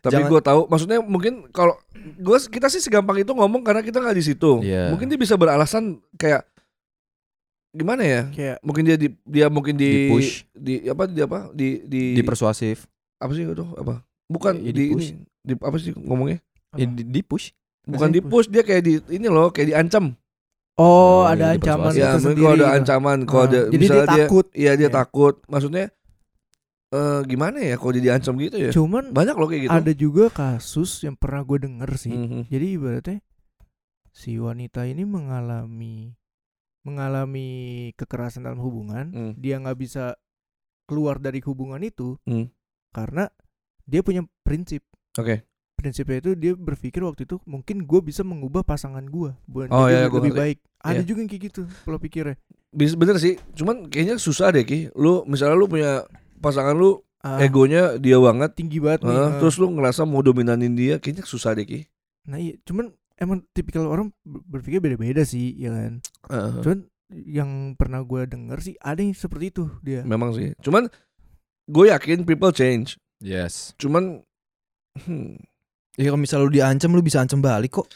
S3: Tapi
S4: Jangan-
S3: gue tahu, maksudnya mungkin kalau gue kita sih segampang itu ngomong karena kita nggak di situ.
S4: Iya.
S3: Mungkin dia bisa beralasan kayak gimana ya?
S1: Kayak
S3: Mungkin dia di, dia mungkin di
S4: Di-push.
S3: di apa di apa di di,
S4: di persuasif.
S3: apa sih itu apa? Bukan
S4: Ya,
S3: di,
S4: di-push.
S3: ini, di apa sih ngomongnya?
S4: Eh, di, di push.
S3: bukan
S1: Biasanya
S3: di push dia kayak di ini loh kayak diancam
S1: Oh,
S4: Oh,
S1: ada
S4: iya,
S1: ancaman
S4: dipersuasi.
S1: itu
S3: ya mungkin
S1: sendiri.
S3: kalau ada
S1: gitu.
S3: ancaman kalau
S1: Ah,
S3: ada
S1: Jadi dia
S3: misalnya dia,
S1: takut.
S3: iya dia
S1: Iya.
S3: takut maksudnya eh gimana ya kalau dia diancam gitu ya
S1: Cuman
S3: banyak loh kayak gitu
S1: ada juga kasus yang pernah gue denger sih.
S3: Mhm.
S1: Jadi ibaratnya si wanita ini mengalami mengalami kekerasan dalam hubungan,
S3: Hmm.
S1: dia nggak bisa keluar dari hubungan itu
S3: Hmm.
S1: karena dia punya prinsip.
S3: Oke.
S1: Prinsipnya itu dia berpikir waktu itu mungkin gue bisa mengubah pasangan gue buat
S3: Oh, iya,
S1: jadi
S3: gua
S1: lebih
S3: ngerti.
S1: baik. Ada
S3: Iya.
S1: juga yang kayak gitu pola pikirnya.
S3: Bis- bener sih cuman kayaknya susah deh ki lu misalnya lu punya pasangan lu
S1: Ah,
S3: egonya dia banget
S1: tinggi banget nih.
S3: eh,
S1: ah.
S3: terus lu ngerasa mau dominanin dia kayaknya susah deh ki
S1: Nah iya, cuman emang tipikal orang ber- berpikir beda-beda sih, ya kan.
S3: Heeh.
S1: Cuman yang pernah gue denger sih ada yang seperti itu dia.
S3: memang sih cuman gue yakin people change
S4: Yes.
S3: cuman hmm,
S4: Ya kalau misalnya lu diancam lu bisa ancam balik kok.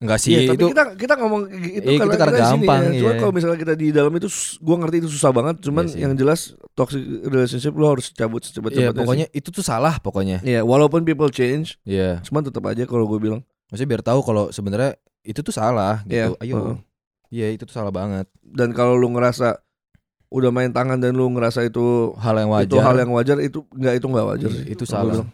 S4: Enggak sih
S3: Iya, tapi
S4: itu
S3: kita kita ngomong gitu itu
S4: Iya,
S3: karena
S4: kita karena
S3: di sini
S4: gampang,
S3: ya. Cuman
S4: iya.
S3: kalau misalnya kita di dalam itu sus- gua ngerti itu susah banget, cuman
S4: Iya sih.
S3: yang jelas toxic relationship lo harus cabut
S4: ya
S3: secepat-cepatnya.
S4: pokoknya itu tuh salah pokoknya.
S3: sih. Iya, walaupun people change,
S4: Iya.
S3: cuman tetap aja kalau gue bilang
S4: Maksudnya biar tahu kalau sebenarnya itu tuh salah gitu.
S3: Iya,
S4: Ayo.
S3: heeh.
S4: Iya, itu tuh salah banget.
S3: dan kalau lu ngerasa udah main tangan dan lu ngerasa itu
S4: Hal yang wajar. Iya,
S3: itu hal yang wajar itu nggak itu nggak wajar sih.
S4: itu
S3: Gua
S4: salah.
S3: bilang.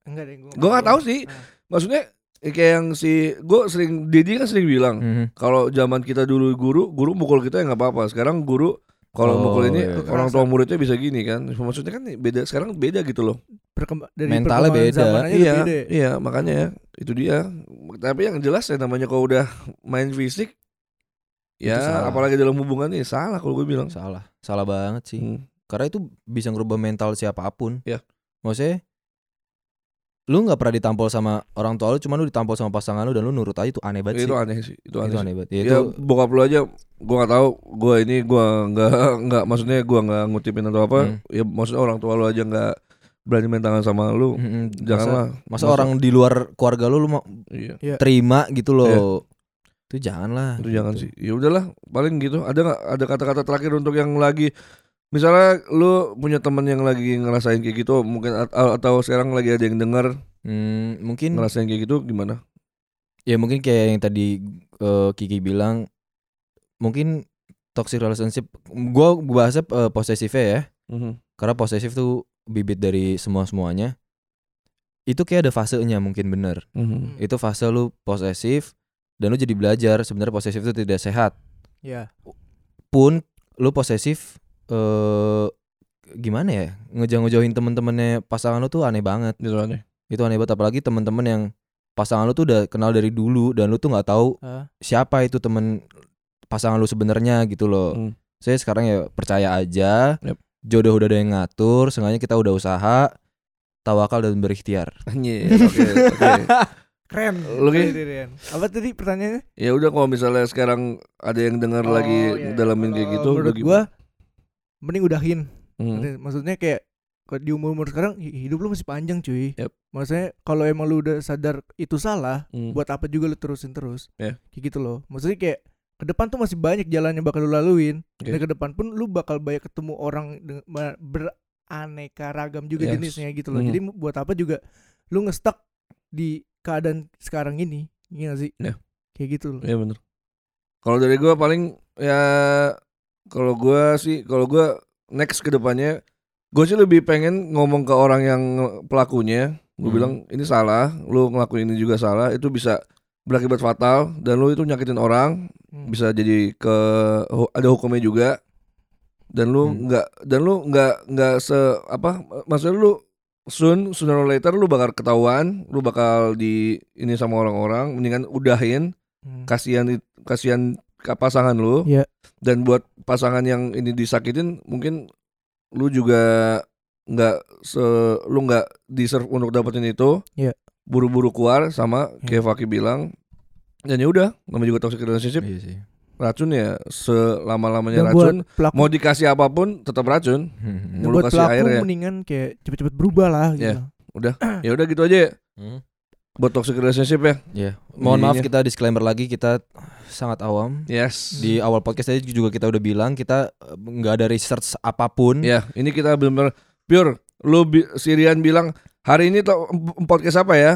S1: Enggak deh, gue
S3: Hmm. Gua nggak tahu sih.
S1: Nah,
S3: Maksudnya ya kayak yang si gue sering Dedi kan sering bilang
S4: Mhm.
S3: kalau zaman kita dulu guru guru mukul kita ya nggak apa-apa sekarang guru kalau
S4: Oh,
S3: mukul ini
S4: iya.
S3: orang tua muridnya bisa gini kan maksudnya kan beda sekarang beda gitu loh
S1: Perkemba- dari
S4: Mentalnya
S1: perkembangan
S4: beda.
S1: zamannya udah
S3: iya
S1: beda ya.
S3: iya makanya itu dia tapi yang jelas ya namanya kalau udah main fisik
S4: Itu
S3: ya
S4: salah.
S3: apalagi dalam hubungan nih salah kalau gue bilang
S4: Salah. Salah banget sih.
S3: Hmm.
S4: Karena itu bisa ngerubah mental siapapun.
S3: Iya.
S4: Maksudnya lu nggak pernah ditampol sama orang tua lu cuman lu ditampol sama pasangan lu dan lu nurut aja itu aneh
S3: itu
S4: banget sih
S3: aneh sih itu
S4: itu
S3: aneh,
S4: aneh,
S3: sih.
S4: banget ya,
S3: Ya,
S4: itu
S3: bokap lu aja gua nggak tahu gua ini gua nggak nggak maksudnya gua nggak ngutipin atau apa
S4: Hmm.
S3: ya maksudnya orang tua lu aja nggak berani main tangan sama lu
S4: mm-mm, Hmm. masa,
S3: janganlah
S4: masa orang di luar keluarga lu lu mau
S3: iya
S4: terima gitu loh itu jangan lah
S1: Ah,
S3: itu jangan
S1: gitu.
S3: sih ya udahlah paling gitu ada nggak ada kata-kata terakhir untuk yang lagi misalnya lu punya teman yang lagi ngerasain kayak gitu mungkin at- atau sekarang lagi ada yang dengar
S4: Hmm, mungkin
S3: ngerasain kayak gitu gimana
S4: ya mungkin kayak yang tadi eh, Kiki bilang mungkin toxic relationship gua bahasnya eh, posesifnya ya
S1: Mhm,
S4: karena posesif tuh bibit dari semua semuanya itu kayak ada fasenya mungkin bener
S3: Mhm.
S4: itu fase lu posesif dan lu jadi belajar sebenarnya posesif itu tidak sehat
S1: ya
S4: pun lu posesif eh gimana ya ngejauh-ngejauhin temen-temennya pasangan lu tuh aneh banget
S3: gitu
S1: ya?
S3: aneh
S4: itu aneh banget apalagi temen-temen yang pasangan lu tuh udah kenal dari dulu dan lu tuh nggak tahu
S1: Ah.
S4: siapa itu temen pasangan lu sebenarnya gitu loh
S3: Hmm.
S4: saya sekarang ya percaya aja
S3: Yep.
S4: jodoh udah ada yang ngatur sengaja kita udah usaha tawakal dan berikhtiar
S3: Anjir, oke oke
S1: keren
S3: Lu, Ki?
S1: Keren, keren. apa tadi pertanyaannya
S3: ya udah kalau misalnya sekarang ada yang dengar
S1: Oh,
S3: lagi
S1: iya, iya.
S3: dalamin kayak
S1: Kalau
S3: gitu
S1: menurut
S3: bagi-
S1: gua mending udahin
S3: Mhm.
S1: Ngerti? maksudnya kayak kalau di umur umur sekarang hi- hidup lu masih panjang cuy
S3: Yep.
S1: maksudnya kalau emang lu udah sadar itu salah
S3: Mhm.
S1: buat apa juga lu terusin terus
S3: Yeah.
S1: kayak gitu loh maksudnya kayak ke depan tuh masih banyak jalan yang bakal lu laluin
S3: Oke.
S1: dan ke depan pun lu bakal banyak ketemu orang deng- ma- beraneka ragam juga
S3: Yes.
S1: jenisnya gitu loh
S3: Mhm.
S1: jadi mu- buat apa juga lu ngestak di keadaan sekarang ini Iya gak sih
S3: Yeah.
S1: kayak gitu loh
S3: Iya bener. Kalau dari gua paling ya kalau gua sih kalau gua next ke depannya gue sih lebih pengen ngomong ke orang yang pelakunya. Gue
S4: Hmm.
S3: bilang ini salah, lu ngelakuin ini juga salah, itu bisa berakibat fatal dan lu itu nyakitin orang,
S1: Hmm.
S3: bisa jadi ke hu- ada hukumnya juga. Dan lu
S4: Hmm.
S3: nggak dan lu nggak nggak se apa maksudnya lu soon sooner or later lu bakal ketahuan, lu bakal di ini sama orang-orang, mendingan udahin
S1: Hmm.
S3: kasihan kasihan ke pasangan lu
S1: Iya.
S3: dan buat pasangan yang ini disakitin mungkin lu juga nggak se lu nggak deserve untuk dapetin itu
S1: Iya.
S3: buru-buru keluar sama
S1: Iya.
S3: kayak Faki bilang dan ya udah namanya juga toxic relationship
S4: iya sih
S3: racun ya selama-lamanya
S1: Dan buat
S3: racun
S1: pelaku
S3: mau dikasih apapun tetap racun
S4: Hmm.
S1: Dan
S3: Lu
S1: buat
S3: kasih
S1: pelaku
S3: airnya.
S1: mendingan kayak cepet-cepet berubah lah gitu.
S3: Yeah. ya udah gitu aja ya.
S4: Hmm.
S3: buat toxic relationship ya
S4: ya mohon maaf
S3: Jadinya.
S4: kita disclaimer lagi kita sangat awam
S3: yes
S4: di awal podcast tadi juga kita udah bilang kita eh, nggak ada research apapun
S3: Ya, ini kita benar-benar pure. Lu bi- Sirian bilang hari ini to- em- podcast apa ya?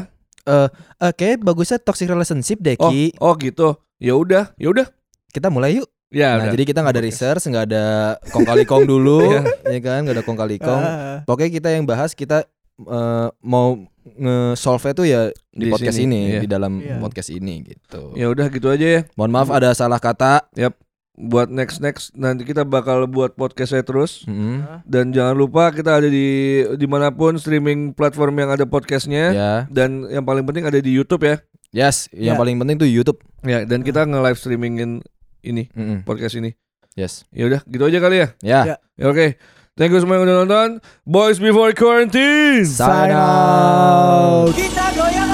S4: Eh, kayaknya bagusnya toxic relationship deh
S3: Oh,
S4: Ki
S3: oh gitu. Ya udah, ya udah.
S4: kita mulai yuk
S3: Ya
S4: nah
S3: udah.
S4: jadi kita nggak ada
S3: Podcast.
S4: research nggak ada kong kali kong dulu
S3: Iya.
S4: ya kan nggak ada kong kali kong
S1: Ah,
S4: pokoknya kita yang bahas kita eh, mau nge-solve itu ya di,
S3: Di
S4: podcast
S3: sini,
S4: ini
S3: iya.
S4: di dalam
S1: Iya.
S4: podcast ini gitu
S3: Ya udah gitu aja ya.
S4: mohon maaf ada salah kata
S3: Buat next next nanti kita bakal buat podcast saya terus.
S4: Mm-mm.
S3: Dan jangan lupa kita ada di dimanapun streaming platform yang ada podcastnya.
S4: ya
S3: Dan yang paling penting ada di YouTube ya.
S4: yes
S1: Ya.
S4: yang paling penting tuh YouTube
S3: Ya. Dan kita nge live streamingin ini
S4: Mm-mm.
S3: podcast ini.
S4: yes
S3: Ya udah gitu aja kali ya.
S4: ya
S1: Ya.
S3: Ya, Oke. Thank you semua yang udah nonton. Boys Before Quarantine.
S4: sign out
S5: Kita goyang.